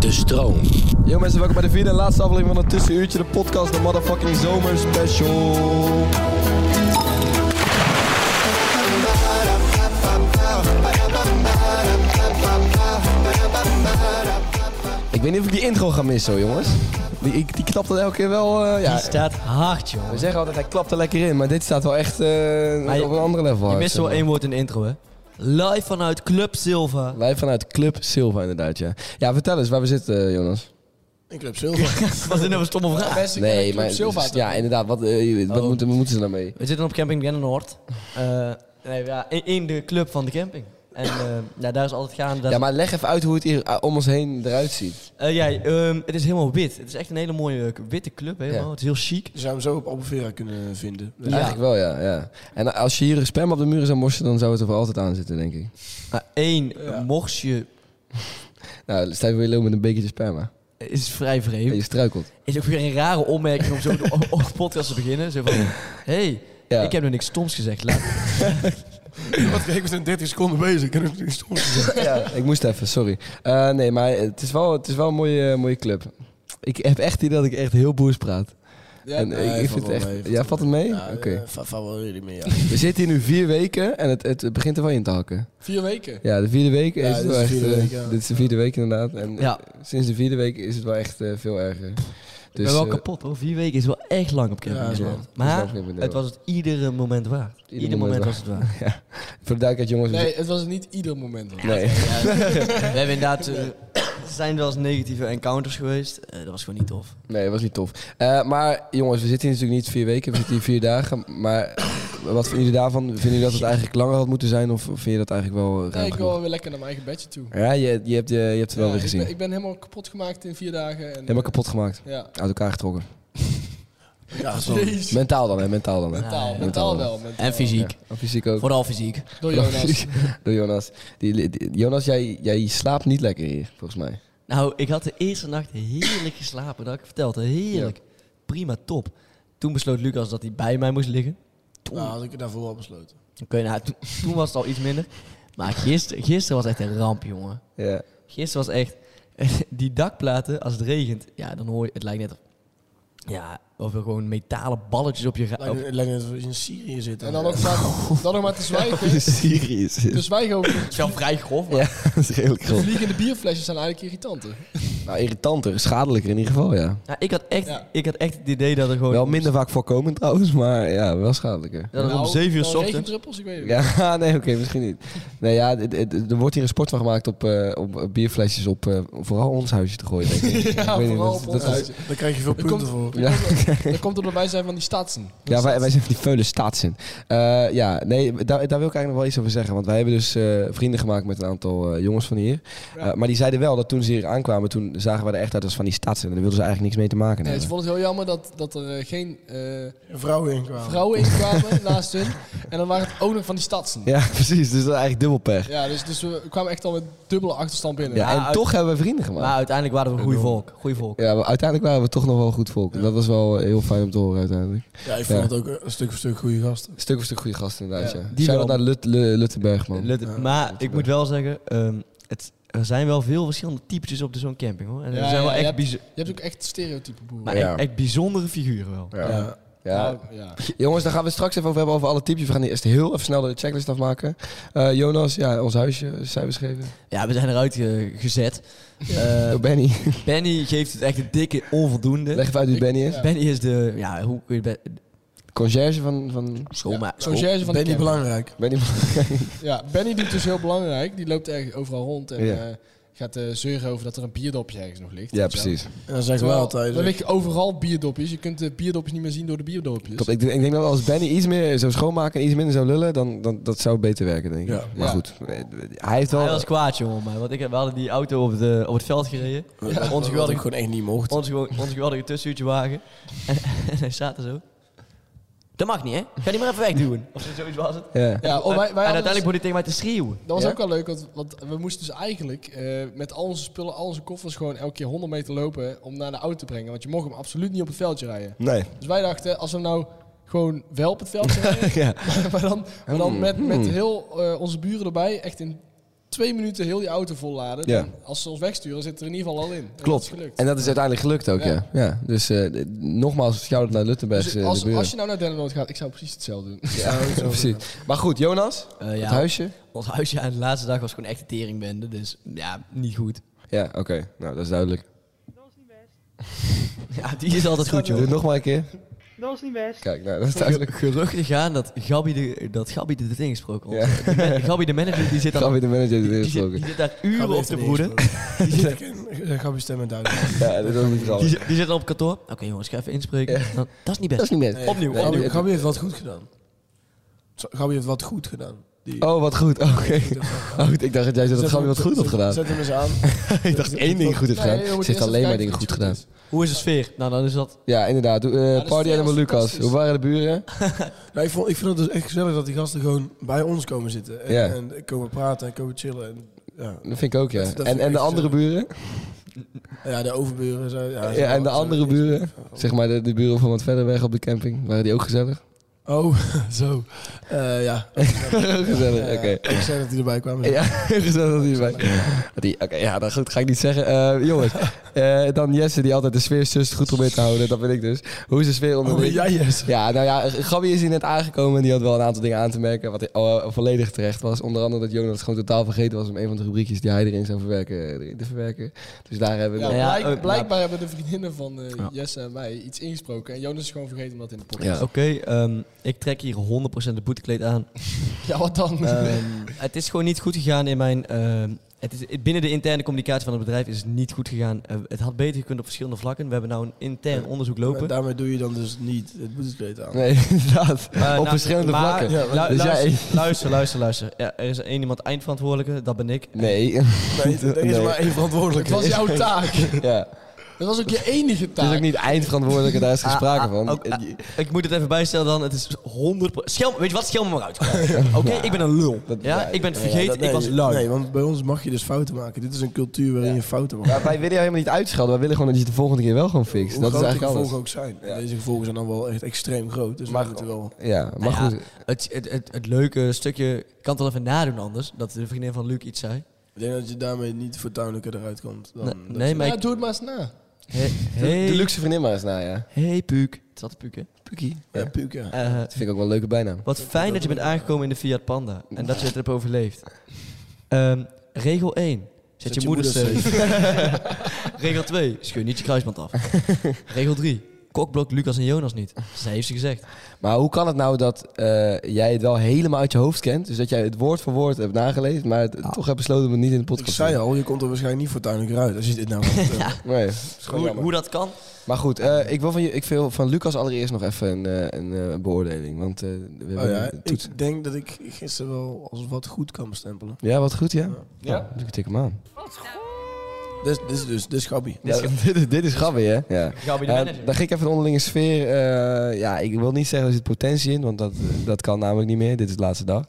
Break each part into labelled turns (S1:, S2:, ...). S1: De stroom.
S2: Yo mensen, welkom bij de vierde en laatste aflevering van het Tussenuurtje, de podcast, de motherfucking zomer special. Ik weet niet of ik die intro ga missen hoor, jongens. Die, ik, die klapt er elke keer wel... eh, ja,
S1: Die staat hard, jongen.
S2: we zeggen altijd, hij klapt er lekker in, maar dit staat wel echt eh,
S1: Maar je-
S2: op een andere level.
S1: Je
S2: uit,
S1: mist
S2: zeg
S1: wel
S2: maar.
S1: één woord in de intro, hè? Live vanuit Club Silva.
S2: Live vanuit Club Silva inderdaad, ja. Ja, vertel eens waar we zitten, eh, Jonas.
S3: In Club Silva.
S1: Wat is dit nou een stomme vraag?
S3: Beste club, Club Silva. toch?
S2: dus, Ja, inderdaad, wat, eh, wat
S1: Oh.
S2: moeten, moeten ze daarmee?
S1: We zitten op camping Gennenoord. Eh nee, ja, in, in de club van de camping. En eh, ja, daar is altijd gaande. dat-
S2: Ja, maar leg even uit hoe het hier eh, om ons heen eruit ziet.
S1: Eh, ja, ehm, het is helemaal wit. Het is echt een hele mooie eh, witte club, helemaal.
S2: Ja.
S1: Het is heel chic.
S3: Je zou hem zo op Albufeira kunnen vinden. Dus
S1: Ja.
S2: Eigenlijk wel, ja, ja. En als je hier een spam op de muren zou morsen, dan zou het er voor altijd aan zitten, denk ik.
S1: Maar één morsje
S2: Nou, sta je weer lopen met een bekertje spam, hè?
S1: is vrij
S2: En
S1: vreemd.
S2: je struikelt.
S1: is ook weer een rare opmerking om zo de o- o- podcast te beginnen. Zo van, hey,
S2: Ja.
S1: ik heb nog niks stoms gezegd. Laat-
S3: Wat ik ben 30 seconden bezig. Ik heb het
S2: ja, ik moest even, sorry. Eh, nee, maar het is wel, het is wel een mooie, eh, mooie club. Ik heb echt het idee dat ik echt heel boers praat. en ik- ik vind het echt... ja, valt het mee? Oké.
S3: Valt wel jullie mee, ja.
S2: We zitten hier nu vier weken en het, het begint er wel in te hakken.
S3: Vier weken.
S2: Ja, de vierde week is
S3: dit
S2: het
S3: is
S2: wel
S3: de
S2: echt...
S3: vierde
S2: eh,
S3: week, ja.
S2: Dit is de vierde week inderdaad. En
S1: ja,
S2: sinds de vierde week is het wel echt eh, veel erger.
S1: ik ben wel
S2: eh,
S1: kapot hoor. Vier weken is wel echt lang op camping.
S3: Ja, dat is
S1: hè.
S3: wel-
S2: dat
S1: maar
S2: is wel even
S1: het was het iedere moment waard. Ieder, moment, was het waard.
S2: ja. Voor de duidelijkheid, jongens. we
S4: Nee, het was niet ieder moment. hoor.
S2: Nee.
S1: we hebben inderdaad, eh, er zijn wel eens negatieve encounters geweest. Eh, dat was gewoon niet tof.
S2: Nee, dat was niet tof. Eh, maar jongens, we zitten hier natuurlijk niet vier weken, we zitten hier vier dagen. Maar wat vinden jullie daarvan? Vinden jullie dat het eigenlijk langer had moeten zijn? Of of vind je dat eigenlijk wel eh,
S4: Nee,
S2: ruim
S4: ik wil
S2: genoeg?
S4: wel weer lekker naar mijn eigen bedje toe.
S2: Ja, je, je, hebt, je, je hebt het wel
S4: Ja,
S2: weer
S4: ik
S2: gezien.
S4: ben- Ik ben helemaal kapot gemaakt in vier dagen. En,
S2: Helemaal kapot gemaakt.
S4: Ja.
S2: Uit elkaar getrokken.
S3: Ja, zo.
S4: Jezus.
S2: Mentaal dan, hè? Mentaal dan. Hè?
S4: Mentaal,
S2: Ja,
S4: mentaal wel. mentaal.
S1: En fysiek.
S2: Ja, en fysiek ook.
S1: Vooral fysiek.
S4: Door Jonas.
S2: Door Jonas. Die, die- Jonas, jij, jij slaapt niet lekker hier, volgens mij.
S1: Nou, ik had de eerste nacht heerlijk geslapen. Dat had ik verteld. hè. Heerlijk. Prima, top. Toen besloot Lucas dat hij bij mij moest liggen. Toen,
S3: Nou, had ik het daarvoor al besloten.
S2: Oh.
S1: Oké, nou, toen, toen was het al iets minder. Maar gister, gisteren was echt een ramp, jongen.
S2: Ja.
S1: Gisteren was echt... Die dakplaten, als het regent... Ja, dan hoor je... Het lijkt net... of- Ja, of er gewoon metalen balletjes op je... ra- op-
S3: Lijkt lijkt net alsof je in Syrië zit.
S4: En dan ook maar, dan nog maar te
S2: Oh,
S4: zwijgen.
S2: Serieus.
S4: Te zwijgen over...
S1: Het is wel vrij grof, maar...
S2: Ja, dat is redelijk grof.
S4: Dus Vliegende bierflesjes zijn eigenlijk irritanter.
S2: Nou, irritanter, schadelijker in ieder geval, ja.
S1: Ja, ik, had echt,
S4: Ja.
S1: ik had echt het idee dat er gewoon...
S2: Wel minder vaak voorkomend trouwens, maar ja, wel schadelijker.
S1: Dat er om
S4: Nou,
S1: 7 uur
S4: dan
S1: s ochtends...
S4: Regendruppels, ik weet het niet.
S2: Ja, nee, oké, misschien niet. Nee, ja, dit- dit- er wordt hier een sport van gemaakt op, eh, op eh, bierflesjes op eh, vooral ons huisje te gooien, denk ik. Ik
S4: Ja,
S2: weet niet,
S4: vooral
S2: dat-
S4: op
S2: dat
S4: ons
S2: is-
S4: huisje.
S3: Daar krijg je veel
S4: Er
S3: punten
S4: komt,
S3: voor.
S2: Ja.
S4: er komt omdat wij zijn van die staatsen.
S2: Ja, wij, wij zijn van die veulen staatszin. Eh, ja, nee, daar, daar wil ik eigenlijk nog wel iets over zeggen. Want wij hebben dus eh, vrienden gemaakt met een aantal eh, jongens van hier. Eh, maar die zeiden wel dat toen ze hier aankwamen, toen zagen we er echt uit als van die staatszin. En daar wilden ze eigenlijk niks mee te maken
S4: Nee, ze
S2: hebben.
S4: vonden het heel jammer dat, dat er eh, geen eh,
S3: Vrouwen inkwamen.
S4: vrouwen in kwamen naast hun. En dan waren het ook nog van die staatsen. Ja,
S2: Ja, precies. Dus dat is eigenlijk dubbel pech.
S4: dus, dus we kwamen echt al met dubbele achterstand binnen.
S2: Ja, en
S1: Maar Nou, uit- Nou,
S2: toch hebben we vrienden gemaakt.
S1: Maar uiteindelijk waren we een goede volk. Goeie volk.
S2: Ja, maar uiteindelijk waren we toch nog wel een goed volk. En dat was wel eh, heel fijn om te horen uiteindelijk.
S3: Ja, ik vond
S2: Ja.
S3: het ook
S4: eh,
S3: een stuk voor stuk goede gasten.
S2: Stuk voor stuk goede gasten inderdaad, ja.
S1: die
S2: Shout-out
S1: wel.
S2: naar Lut, Lu- Luttenberg, man.
S1: Let- maar ik moet wel zeggen, ehm, het, er zijn wel veel verschillende typetjes op zo'n camping hoor. En er
S4: Ja,
S1: zijn
S4: ja,
S1: wel echt,
S4: hebt-
S1: bijz-
S4: Je hebt ook echt stereotype boeren.
S1: maar
S2: Ja.
S1: echt, echt bijzondere figuren wel.
S2: ja.
S3: Ja.
S2: Ja.
S3: Nou, ja.
S2: Jongens, daar gaan we het straks even over hebben over alle types. We gaan eerst heel even snel de checklist afmaken. Eh, Jonas, ja, ons huisje, cijfers geven.
S1: Ja, we zijn eruit eh, gezet. Eh,
S2: Oh, Benny.
S1: Benny geeft het echt een dikke onvoldoende.
S2: Leg even uit wie Benny is.
S1: Benny is de, ja, hoe kun je ben-
S2: Conciërge van... van...
S1: Schoonma-
S3: Conciërge van de
S4: Benny
S3: camp.
S4: belangrijk.
S2: Oh, Benny.
S3: Ja, Benny doet dus heel belangrijk. Die loopt erg overal rond en
S2: Ja.
S3: eh, gaat eh, zeuren over dat er een bierdopje ergens nog ligt.
S2: Ja,
S3: weet je wel.
S2: precies.
S4: En dan zeggen wij
S3: Terwijl,
S4: altijd...
S3: er liggen overal bierdopjes. Je kunt de bierdopjes niet meer zien door de bierdopjes.
S2: Klopt, ik, denk- ik denk dat als Benny iets meer zou schoonmaken en iets minder zou lullen, dan, dan dat zou beter werken, denk ik.
S4: Ja.
S2: Maar
S3: Ja.
S2: goed, eh, hij heeft
S1: Hij
S2: wel...
S1: was kwaad, jongen. Maar, want ik, we hadden die auto op, de, op het veld gereden.
S4: Ja,
S1: Ons
S4: ons wat eh, ik
S1: geweldige,
S4: gewoon echt niet mocht.
S1: ons, gewo- ons geweldige tussenuurtje wagen. en hij staat er zo. Dat mag niet, hè? Ga die maar even wegduwen. Of zoiets was het.
S2: Ja.
S3: Ja, oh,
S1: en
S3: wij, wij hadden dus-
S1: uiteindelijk begon hij tegen mij te schreeuwen.
S3: Dat was
S2: Ja?
S3: ook wel leuk, want, want we moesten dus eigenlijk eh, met al onze spullen, al onze koffers gewoon elke keer 100 meter lopen om naar de auto te brengen. Want je mocht hem absoluut niet op het veldje rijden.
S2: Nee.
S3: Dus wij dachten, als we hem nou gewoon wel op het veldje rijden,
S2: Ja.
S3: maar dan, maar dan
S2: Hmm.
S3: met, met
S2: Hmm.
S3: heel eh, onze buren erbij, echt in twee minuten heel die auto volladen.
S2: Ja.
S3: Dan, als ze ons wegsturen, zit er in ieder geval al in. En dat is
S2: Klopt.
S3: gelukt.
S2: En dat is uiteindelijk gelukt ook, ja. ja.
S3: Ja.
S2: Dus eh, d- nogmaals, shout-out naar Luttenbergs
S3: Dus
S2: eh, de
S3: als,
S2: buren.
S3: als je nou naar Dennenoord gaat, ik zou precies hetzelfde doen.
S2: Ja, precies. Maar goed, Jonas,
S1: Eh,
S2: het
S1: ja,
S2: huisje?
S1: ons huisje aan de laatste dag was gewoon echt een teringbende. Dus ja, niet goed.
S2: Ja, oké. Nou, dat is duidelijk.
S1: Ja, die is altijd goed,
S2: Doe het
S1: joh.
S2: nog maar een keer.
S5: Dat was niet best.
S2: Kijk, nou, dat is
S1: Ge-
S2: duidelijk.
S1: Geruchten gaan dat Gabi de, dat Gabi de dit ingesproken
S2: Ja.
S1: wordt. Die man- Gabi de manager die zit,
S2: Gaan
S1: dan,
S2: we de manager dit
S1: die, zit, die
S2: ingesproken.
S1: zit daar uren op te broeden.
S4: Ga je stemmen duidelijk.
S2: Ja, dat is niet
S1: Die,
S2: grappig.
S1: zit- die zit dan op kantoor. Oké jongens, ga even inspreken. Dan- dat is niet
S2: Dat
S1: best.
S2: is niet best.
S1: Opnieuw,
S4: Nee,
S1: opnieuw.
S4: Gabi- Gabi heeft wat goed gedaan. Zo- Gabi heeft wat goed gedaan. Die-
S2: Oh, wat goed. Oké. Oh, goed, ik dacht dat jij zei dat
S4: Zet
S2: Gabi
S4: hem-
S2: wat goed had
S4: zet-
S2: gedaan.
S4: Zet hem eens aan.
S2: Ik dacht één ding goed heeft
S3: Nee, je
S2: gedaan.
S3: moet
S2: Ze heeft
S3: eerst
S2: alleen
S3: even
S2: maar
S3: kijken
S2: dingen
S3: of
S2: goed
S3: het
S2: gedaan.
S3: is.
S1: Hoe is de sfeer? Nou, dan is dat.
S2: Ja, inderdaad. Doe, eh,
S3: dus
S2: party
S3: die
S2: Animal
S3: was
S2: Lucas.
S3: fantastisch.
S2: Hoe waren de buren?
S4: Nou, ik, vond, ik vind het dus echt gezellig dat die gasten gewoon bij ons komen zitten. En,
S2: Ja.
S4: en komen praten en komen chillen. En, ja.
S2: Dat vind ik ook, ja.
S4: Dat- dat
S2: en
S4: vind ik
S2: en de
S4: echt,
S2: andere
S4: eh,
S2: buren?
S4: ja, de overburen. Zo, ja, zo-
S2: Ja, en de
S4: zo-
S2: andere buren? Zeg maar de, de buren van wat verder weg op de camping. Waren die ook gezellig?
S4: Oh, zo. Eh, ja.
S2: gezellig,
S4: Eh,
S2: oké.
S4: Ik zei dat die erbij kwamen.
S2: Ja, gezellig dat die erbij. Die- Oké, ja, dan goed. Ga ik niet zeggen. Eh, jongens, eh, dan Jesse die altijd de sfeer zus goed probeert te houden. Dat ben ik dus. Hoe is de sfeer onder
S4: Oh,
S2: de
S4: ben
S2: week?
S4: jij yes.
S2: Ja, nou ja, Gabi is hier net aangekomen en die had wel een aantal dingen aan te merken. Wat eh, volledig terecht was. Onder andere dat Jonas gewoon totaal vergeten was om een van de rubriekjes die hij erin zou verwerken, eh, erin te verwerken. Dus daar hebben we...
S3: Ja,
S2: Ja,
S1: ja,
S3: blijk-
S1: eh,
S3: blijkbaar hebben de vriendinnen van eh,
S1: Ja.
S3: Jesse en mij iets ingesproken. En Jonas is gewoon vergeten om dat in de podcast.
S2: ja.
S1: Oké, ehm, ik trek hier 100% de boetekleed aan.
S3: Ja, wat dan?
S1: Ehm, het is gewoon niet goed gegaan in mijn. ehm, het is, het- binnen de interne communicatie van het bedrijf is het niet goed gegaan. Eh, het had beter gekund op verschillende vlakken. We hebben nou een intern onderzoek
S4: En
S1: lopen.
S4: daarmee doe je dan dus niet het boetekleed aan.
S2: Nee, inderdaad. Op
S1: Eh, nou,
S2: verschillende
S1: maar-
S2: vlakken.
S4: Ja, maar-
S1: Lu-
S2: Dus
S1: luister,
S2: jij-
S1: luister, luister, luister. Ja, er is één iemand eindverantwoordelijke, dat ben ik.
S2: Nee.
S4: Nee, er is
S2: Nee.
S4: maar één verantwoordelijke.
S3: Het was jouw taak.
S2: Ja.
S3: Dat was ook je enige
S2: Het is ook
S3: taak.
S2: niet eindverantwoordelijke, daar is geen sprake
S1: Ah, ah,
S2: van.
S1: ook, ah, ik moet het even bijstellen dan. Het is 100%. Schelm, weet je wat? Schelm me maar uit. Oké, ik ben een lul.
S2: Dat-
S1: ja,
S2: ja,
S1: ik ben het
S2: ja,
S1: vergeten.
S4: dat- nee,
S1: ik was lui.
S4: Nee, want bij ons mag je dus fouten maken. Dit is een cultuur waarin
S2: Ja.
S4: je fouten maakt.
S2: Ja, wij willen jou helemaal niet uitschelden. Wij willen gewoon dat je het de volgende keer wel gewoon fixt.
S4: Hoe
S2: Dat is
S4: groot de
S2: eigenlijk
S4: gevolgen
S2: alles.
S4: ook zijn.
S2: Ja.
S4: Deze gevolgen zijn dan wel echt extreem groot. Dus we moeten wel...
S2: Ja, maar
S1: Nou ja,
S2: goed.
S1: Het, het, het, het leuke stukje, ik kan het wel even nadoen anders, dat de vriendin van Luc iets zei.
S4: Ik denk dat je daarmee niet fortuinlijker eruit komt. Dan
S1: Nee,
S4: dat
S1: nee,
S4: je-
S1: maar
S3: Ja,
S1: ik-
S3: doe het maar eens na.
S1: Hey,
S2: De
S1: hey,
S2: luxe vriendin maar eens na, ja.
S1: hey Puuk. Het zat de Puuk, hè?
S2: Pukie.
S4: Ja, puuk, ja.
S1: Eh,
S2: Dat vind ik ook wel een leuke bijnaam.
S1: wat fijn dat je bent aangekomen in de Fiat Panda en dat je het hebt overleefd. Ehm, regel 1. Zet, je, moeder safe. regel 2. Scheur niet je kruisband af. regel 3. Kokblok Lucas en Jonas niet. Zij heeft ze gezegd.
S2: Maar hoe kan het nou dat eh, jij het wel helemaal uit je hoofd kent? Dus dat jij het woord voor woord hebt nagelezen, maar het- toch hebt besloten om het niet in de
S4: Ik
S2: podcast
S4: zei
S2: te
S4: al, je komt er waarschijnlijk niet fortuinlijker uit als je dit nou gaat, eh,
S2: doen. Nee.
S1: Hoe, hoe dat kan?
S2: Maar goed, eh, ik wil van, je, ik wil van Lucas allereerst nog even een, eh, een eh, beoordeling. Want eh, we
S4: Oh
S2: hebben
S4: ja,
S2: een toets.
S4: ik denk dat ik gisteren wel als wat goed kan bestempelen.
S2: Ja, wat goed, ja?
S3: Ja.
S2: Nou, dus ik tik hem aan.
S4: Dit dit is dus, dit is Gabi.
S2: Ja, dit, is- dit is grappig, hè? Ja.
S1: Gabi de
S2: Eh,
S1: manager.
S2: dan ging ik even de onderlinge sfeer. eh, ja, ik wil niet zeggen er zit potentie in, want dat, eh, dat kan namelijk niet meer. Dit is de laatste dag.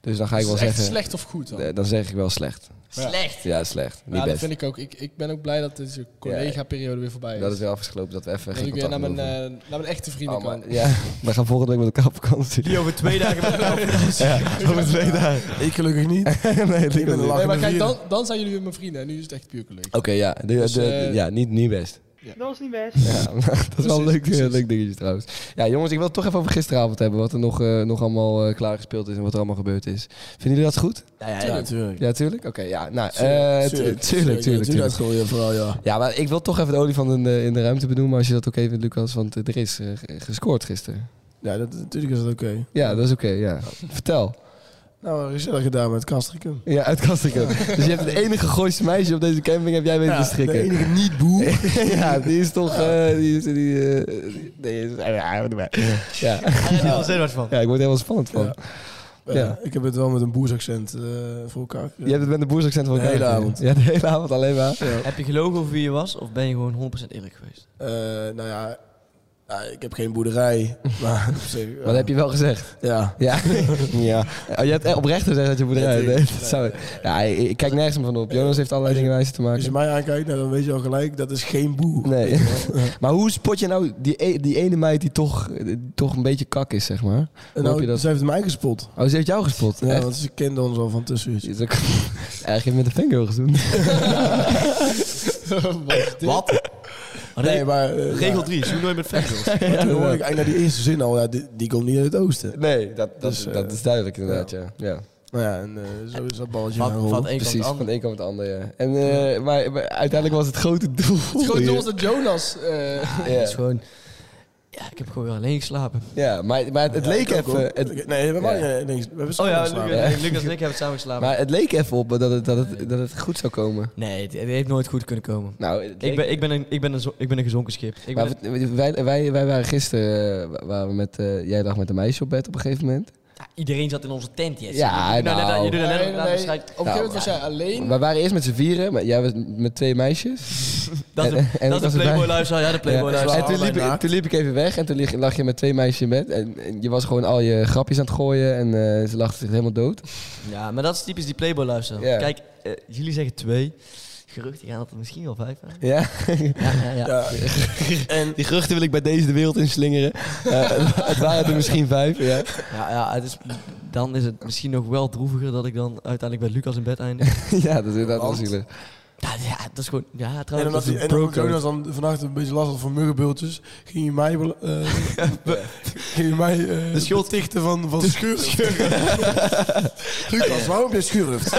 S2: Dus dan ga ik
S3: Is
S2: wel
S3: het echt
S2: zeggen.
S3: slecht of goed dan?
S2: eh, dan zeg ik wel slecht.
S1: Slecht.
S2: Ja, slecht. Niet
S3: ja, dat
S2: best.
S3: vind ik ook. Ik, ik ben ook blij dat deze collega-periode weer voorbij is.
S2: Dat is weer afgeslopen dat we even
S3: Dat
S2: geen
S3: ik weer naar
S2: contact
S3: mijn,
S2: meer hoeven.
S3: eh, naar mijn echte vrienden
S2: Oh, maar-
S3: kan.
S2: Ja, we gaan volgende week met elkaar op vakantie.
S1: Die over twee dagen met elkaar op vakantie.
S2: over twee dagen.
S4: Ik gelukkig niet.
S2: nee, dat
S4: Ik ben
S2: niet.
S4: de
S2: Oké,
S4: lach-
S3: Nee, maar kijk,
S4: vieren.
S3: dan, dan zijn jullie weer mijn vrienden en nu is het echt puur collega.
S2: ja, de,
S3: Dus,
S2: de-
S3: eh,
S2: ja niet, niet best.
S4: Ja.
S6: Dat was niet best.
S2: Ja, dat is wel een leuk, eh,
S4: Precies, precies.
S2: leuk dingetje trouwens. Ja, jongens, ik wil het toch even over gisteravond hebben. Wat er nog, eh, nog allemaal eh, klaargespeeld is en wat er allemaal gebeurd is. Vinden jullie dat goed?
S1: Ja, ja,
S3: Ja,
S1: ja.
S3: natuurlijk.
S2: Ja, tuurlijk? Oké, ja. Nou, eh,
S3: Tuurlijk,
S2: tu- tuurlijk, tuurlijk,
S3: Doe dat
S2: tuurlijk.
S3: gewoon, ja, vooral, ja.
S2: Ja, maar ik wil toch even de olifant in de, in de ruimte benoemen als je dat oké vindt, Lucas. Want eh, er is eh, ge- gescoord gisteren.
S3: Ja, dat, natuurlijk is dat oké.
S2: Ja, dat is oké, ja. Vertel.
S3: Nou, gezellig gedaan met Castricum.
S2: Ja, uit Kastrikum. Dus je hebt het enige Gooise meisje op deze camping heb jij weten te
S3: de
S2: strikken.
S3: enige niet-boer.
S2: ja, die is toch... eh, die is, die, eh, die- nee, is, ja, wat erbij. ja.
S1: Daar heb je wel van.
S2: ja, ik word er helemaal spannend van.
S3: Ja.
S2: Ja.
S3: Ja, Ik heb het wel met een boersaccent eh, voor elkaar.
S2: Je hebt het met een boersaccent van
S3: De hele
S2: elkaar.
S3: avond.
S2: Ja, de hele avond alleen maar.
S1: Heb je gelogen over wie je was of ben je gewoon 100% eerlijk geweest?
S3: Eh, nou ja, nou, ik heb geen boerderij. maar op zich, ja.
S2: Wat heb je wel gezegd?
S3: Ja.
S2: Ja. ja. Oh, je hebt echt oprecht gezegd dat je boerderij
S3: Nee,
S2: nee, dat zou Ja, ik, ik kijk nergens meer van op. Jonas heeft allerlei dingen wijzer te
S3: Als je
S2: maken.
S3: mij aankijkt, nou, dan weet je al gelijk, dat is geen boer.
S2: Nee. maar hoe spot je nou die, e- die ene meid die toch, eh, toch een beetje kak is, zeg maar?
S3: En
S2: Hoe heb je
S3: nou,
S2: dat-
S3: ze heeft mij gespot.
S2: Oh, ze heeft jou gespot?
S3: Ja,
S2: Echt?
S3: want ze kende ons al van tussenuurtje.
S2: Is ook- Eigenlijk heeft met de fangirl gezien.
S1: Wat?
S3: Nee, maar... eh,
S1: Regel
S3: nou,
S1: 3, is hoe nooit met fangirls.
S3: maar toen hoor ik eigenlijk naar die eerste zin al, ja, die, die komt niet uit het oosten.
S2: Nee, dat, dat,
S3: Dus, eh,
S2: dat is duidelijk inderdaad, ja. ja.
S3: Nou ja, en eh, zo is dat balletje
S1: Van-
S3: gaan
S1: van
S3: rollen.
S1: het een kant
S2: Precies,
S1: het
S2: van
S1: ander.
S2: de een kant op het andere, ja. En, eh, maar, maar uiteindelijk was het grote doel.
S4: Het grote doel was dat Jonas... eh,
S2: Ja.
S1: Het is gewoon... Ja, ik heb gewoon weer alleen geslapen.
S2: Ja, maar, maar het, het
S3: Ja,
S2: leek
S3: ik ook,
S2: even...
S3: hoor.
S2: Het,
S3: nee, we,
S2: Ja.
S3: hebben niks. we hebben
S1: Oh ja,
S3: samen
S1: Lucas,
S3: geslapen.
S1: Lucas en ik hebben het samen geslapen.
S2: maar het leek even op dat het, dat, het, dat het goed zou komen.
S1: nee, het, het heeft nooit goed kunnen komen.
S2: Nou, het leek-
S1: Ik ben, ik ben, een, ik ben, een, zo- ik ben een gezonken schip. Ik ben
S2: maar wij, wij, wij waren gisteren... eh, waren we met, eh, jij lag met een meisje op bed op een gegeven moment.
S1: Ja, iedereen zat in onze tent, yes.
S2: Ja,
S1: je, doet net-
S2: nou.
S1: je doet
S4: nee,
S1: net
S4: nee,
S1: een
S4: nee.
S1: bescheid-
S4: Op een gegeven moment was jij alleen.
S2: We waren eerst met z'n vieren. Maar jij was met twee meisjes.
S1: Dat
S2: En- en
S1: is
S2: ik
S1: dat
S2: was
S1: is een
S2: erbij.
S1: Playboy luisteraar. Ja, de Playboy
S2: Ja,
S1: luisteraar.
S2: en toen liep, ik,
S3: naakt.
S2: toen liep ik even weg en toen lig- lag je met twee meisjes in bed. En, en je was gewoon al je grapjes aan het gooien en eh, ze lachten zich helemaal dood.
S1: Ja, maar dat is typisch die Playboy luisteraar.
S2: Ja.
S1: Kijk, eh, jullie zeggen twee. Geruchten gaan dat er misschien wel vijf zijn.
S2: Ja.
S1: Ja, ja, ja.
S2: Die geruchten wil ik bij deze de wereld inslingeren. Eh het waren er misschien vijf, ja.
S1: Ja, ja, het is, dan is het misschien nog wel droeviger dat ik dan uiteindelijk bij Lucas in bed eindig.
S2: ja, dat is inderdaad wel zielig.
S1: Ja, ja, dat is gewoon... Ja,
S3: En
S1: trouwens,
S3: omdat,
S1: dat
S3: die,
S1: is een
S3: en omdat
S1: bro-code.
S3: Jonas dan vannacht een beetje last had van muggenbultjes, ging je mij, wel, eh, ging je mij eh,
S1: De schuld-
S3: betichten van, van schurft. Lucas, waarom ben je schurft?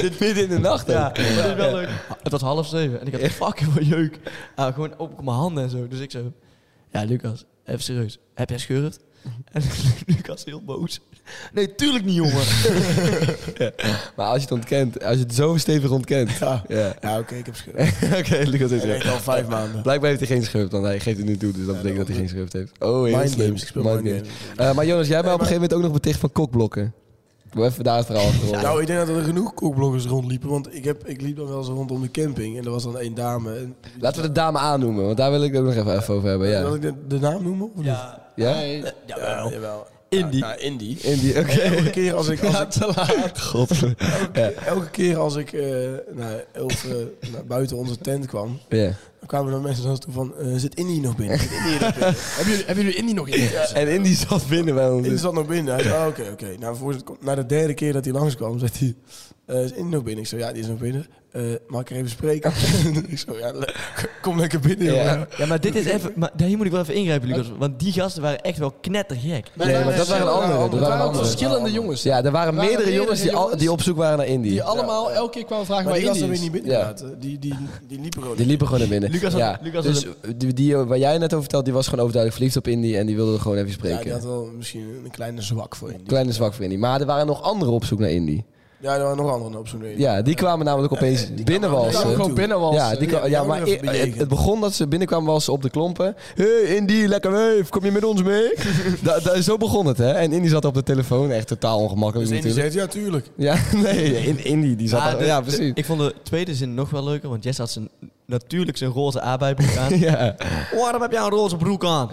S2: Dit midden in de nacht
S1: Ja, dat is wel leuk. Het was half zeven en ik had fucking veel jeuk. Ah, gewoon op mijn handen en zo. Dus ik zo... Ja, Lucas, even serieus. Heb jij schurft? En Lucas heel boos. Nee, tuurlijk niet, jongen.
S2: Maar als je het ontkent, als je het zo stevig ontkent.
S3: Ja,
S2: Ja.
S3: ja oké, ik heb schurft.
S2: Oké, Lucas heeft
S3: Ik
S2: gelijk.
S3: denk al vijf maanden.
S2: Blijkbaar heeft hij geen schurft, want hij geeft het nu toe, dus dat betekent dat hij geen schurft heeft. Oh, heel
S3: Mind
S2: slim.
S3: games, ik speel
S2: Mind
S3: mind
S2: games.
S3: games.
S2: Eh, maar Jonas, jij bent op een gegeven moment ook nog beticht van kokblokken. Doe even daar het verhaal achter. horen.
S3: Nou, ik denk dat er genoeg kokbloggers rondliepen, want ik, heb, ik liep dan wel eens rondom de camping en er was dan één dame. En,
S2: Laten we de dame aannoemen, want daar wil ik het ook nog even, even over hebben.
S3: Wil
S2: Ja.
S3: ik de, de naam noemen? Of ja.
S2: ja?
S3: Niet? ja, jawel.
S1: Indie.
S3: Ja, Indie.
S2: Indie, oké.
S3: Elke keer als ik, als ik,
S2: God.
S3: elke keer als ik eh, naar, of, eh, naar buiten onze tent kwam,
S2: Ja.
S3: Dan kwamen er mensen naar ons toe van, eh, zit Indy nog binnen? Zit Indy nog binnen?
S4: Hebben jullie, hebben jullie Indy nog in?
S2: En Indie zat binnen bij ons.
S3: Indy
S2: dus-
S3: zat nog binnen. Hij zei, oh, oké, oké. Nou, voor, na de derde keer dat hij langskwam, zei hij, eh, is Indy nog binnen? Ik zei, ja, die is nog binnen. Eh, mag ik er even spreken? ik zei, ja, le- kom lekker binnen,
S2: Ja.
S3: jongen.
S1: Ja, maar dit is even... Maar daar moet ik wel even ingrijpen, Lucas. Want die gasten waren echt wel knettergek.
S2: Nee, maar dat waren andere, dat
S4: Het
S2: waren
S4: waren
S2: andere.
S4: verschillende jongens.
S2: Ja, er waren
S4: waren
S2: meerdere
S4: meerdere
S2: jongens die, al,
S4: jongens
S2: die op zoek waren naar Indie.
S4: Die allemaal elke keer kwamen vragen
S3: Maar
S4: waar
S3: die was er
S4: Indy
S3: weer
S4: is.
S3: niet binnen,
S2: Ja.
S3: inderdaad. Die, die, die liepen gewoon
S2: Die liepen gewoon naar binnen.
S1: Lucas had-
S2: ja.
S1: Lucas had
S2: dus die, die waar jij net over vertelde, die was gewoon overduidelijk verliefd op Indie en die wilde er gewoon even
S3: Ja,
S2: spreken.
S3: die had wel misschien een kleine zwak voor Indy.
S2: Kleine zwak voor Indie. Maar er waren nog anderen op zoek naar Indie.
S3: Ja, er waren nog anderen op zo'n reden.
S2: Ja, die kwamen namelijk opeens
S4: Die kwamen
S2: binnenwalsen.
S4: gewoon binnenwalsen.
S2: Ja, die
S3: Ja,
S2: kwa-
S3: die
S2: ja,
S3: ook
S2: maar
S3: nog even
S2: e- het,
S3: bejegend.
S2: het begon dat ze binnenkwamen walsen op de klompen. hey, Indy, lekker weef, kom je met ons mee? da, da- zo begon het, hè? En Indy zat op de telefoon, echt totaal ongemakkelijk
S3: Dus Indy
S2: natuurlijk.
S3: zegt, ja, tuurlijk.
S2: Ja, nee, in, Indy, die zat
S1: Maar
S2: daar-
S1: Ah, de-
S2: Ja,
S1: de-
S2: precies.
S1: ik vond de tweede zin nog wel leuker, want Jess had zijn, natuurlijk zijn roze aardbeiboek aan.
S2: Ja,
S1: Waarom heb jij een roze broek aan?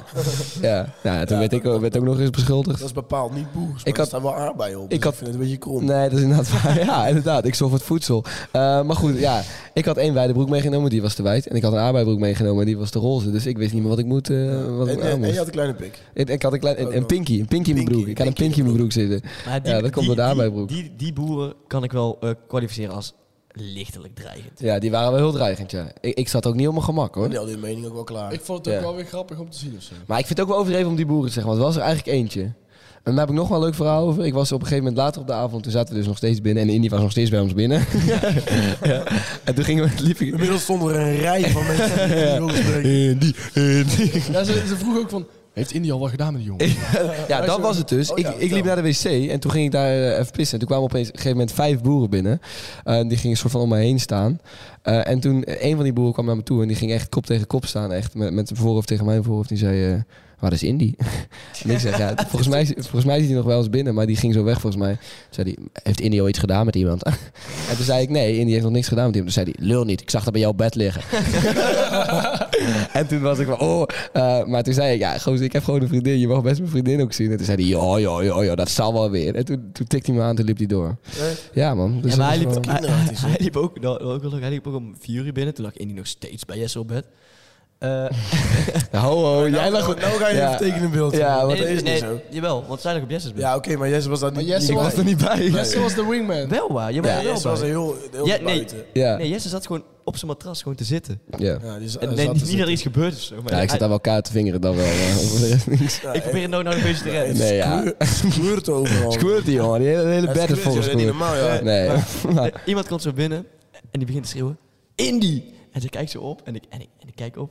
S2: ja. Nou, toen werd ik ook- werd ook nog eens beschuldigd.
S3: Dat is bepaald niet boers, maar
S2: Ik
S3: ik
S2: had-
S3: had, daar wel aardbei op.
S2: ik
S3: dus Ik,
S2: had-
S3: vind het een beetje krom.
S2: Nee, dat is inderdaad waar. Ja, inderdaad. Ik zocht wat voedsel. Eh, maar goed, ja. Ik had één wijde broek meegenomen, die was te wijd. En ik had een arbeidbroek meegenomen, die was te roze. Dus ik wist niet meer wat ik moet. eh, wat
S3: en,
S2: ik aan
S3: en, en
S2: moest.
S3: je had een kleine pik.
S2: Ik, ik had een klein. Een, een
S3: nog.
S2: pinky, een pinky in mijn
S3: Pinky,
S2: broek. Ik had een pinky in mijn broek zitten.
S1: Maar
S2: Ja, dat komt door de
S1: die,
S2: aardbeienbroek.
S1: Die, die, die boeren kan ik wel eh, kwalificeren als lichtelijk dreigend.
S2: Ja, die waren wel heel dreigend, ja. Ik, ik zat ook niet op mijn gemak, hoor.
S3: Die hadden hun mening ook wel klaar.
S4: Ik vond het ook
S2: Ja.
S4: wel weer grappig om te zien of zo.
S2: Maar ik vind het ook wel overdreven om die boeren te zeggen, want er was er eigenlijk eentje. En daar heb ik nog wel een leuk verhaal over. Ik was op een gegeven moment later op de avond, toen zaten we dus nog steeds binnen. En Indy was nog steeds bij ons binnen. ja. En toen gingen we, liep ik...
S3: Inmiddels stond er een rij van mensen die die wilden spreken.
S2: Indy, Indy.
S4: Ja, ze, ze vroegen ook van, heeft India al wat gedaan met die jongen?
S2: Ja, dat was het dus.
S3: Oh
S2: ik,
S3: ja,
S2: ik liep
S3: vertel.
S2: naar de wc en toen ging ik daar eh, even pissen. En toen kwamen opeens op een gegeven moment vijf boeren binnen. Eh, die gingen soort van om me heen staan. Eh, en toen, eh, een van die boeren kwam naar me toe en die ging echt kop tegen kop staan. Echt met, met zijn voorhoofd tegen mijn voorhoofd. Die zei, eh, waar is Indy? en ik zeg, ja, volgens mij, volgens mij zit hij nog wel eens binnen. Maar die ging zo weg volgens mij. Toen zei hij, heeft Indy al iets gedaan met iemand? en toen zei ik, nee, Indy heeft nog niks gedaan met iemand. Toen zei hij, lul niet, ik zag dat bij jouw bed liggen. En toen was ik van, oh. eh, maar toen zei ik, ja, gozer, ik heb gewoon een vriendin. Je mag best mijn vriendin ook zien. En toen zei hij, joh, joh, joh, joh, dat zal wel weer. En toen, toen tikte hij me aan, toen liep hij door. Ja, man. Dus
S1: ja, maar hij
S2: dat
S1: liep,
S2: is wel-
S1: hij,
S3: kinderachtig,
S1: hij liep ook, dat, ook wel leuk, hij liep ook om vier uur binnen. Toen lag Indy nog steeds bij Jesse op bed. Eh,
S2: Ho, ho, jij
S3: Nou,
S2: lag...
S3: nou, nou ga je
S2: Ja.
S3: even tekenen in beeld.
S2: Ja, wat
S3: dat is niet zo.
S1: Jawel, want zij lag op Jesse's bed.
S3: Ja, oké, maar Jesse was dat
S4: Maar
S3: niet.
S4: Jesse
S3: niet
S4: was
S3: bij.
S2: er niet bij.
S4: Ja, ze was de wingman.
S1: Wel waar, je
S3: Ja,
S1: was er wel
S3: Jesse was
S1: bij.
S3: heel, heel
S1: Ja, nee.
S3: buiten.
S2: Ja,
S1: Nee, Jesse zat gewoon op zijn matras gewoon te zitten.
S2: ja.
S3: Ja, die za-
S1: En, nee,
S3: zat te
S1: niet niet
S3: zitten.
S1: dat er iets gebeurd is. of zo,
S2: Ja,
S1: maar
S2: ik
S1: hij-
S2: zat daar wel kaart te vingeren dan wel. maar voor de rest niks.
S3: Ja,
S1: ik probeer het nou, nou een beetje te redden.
S2: Nee, ja.
S3: kleur- kleurt overal.
S2: Squirt die, jongen. Die hele, hele
S3: Ja,
S2: bed is
S3: squirt,
S2: vol
S3: joh, dat is niet
S2: gesquirt.
S3: normaal, ja.
S2: Nee. Maar-
S1: Eh, Iemand komt zo binnen en die begint te schreeuwen. Indy! En ze kijkt zo op en ik, en ik, en ik kijk op.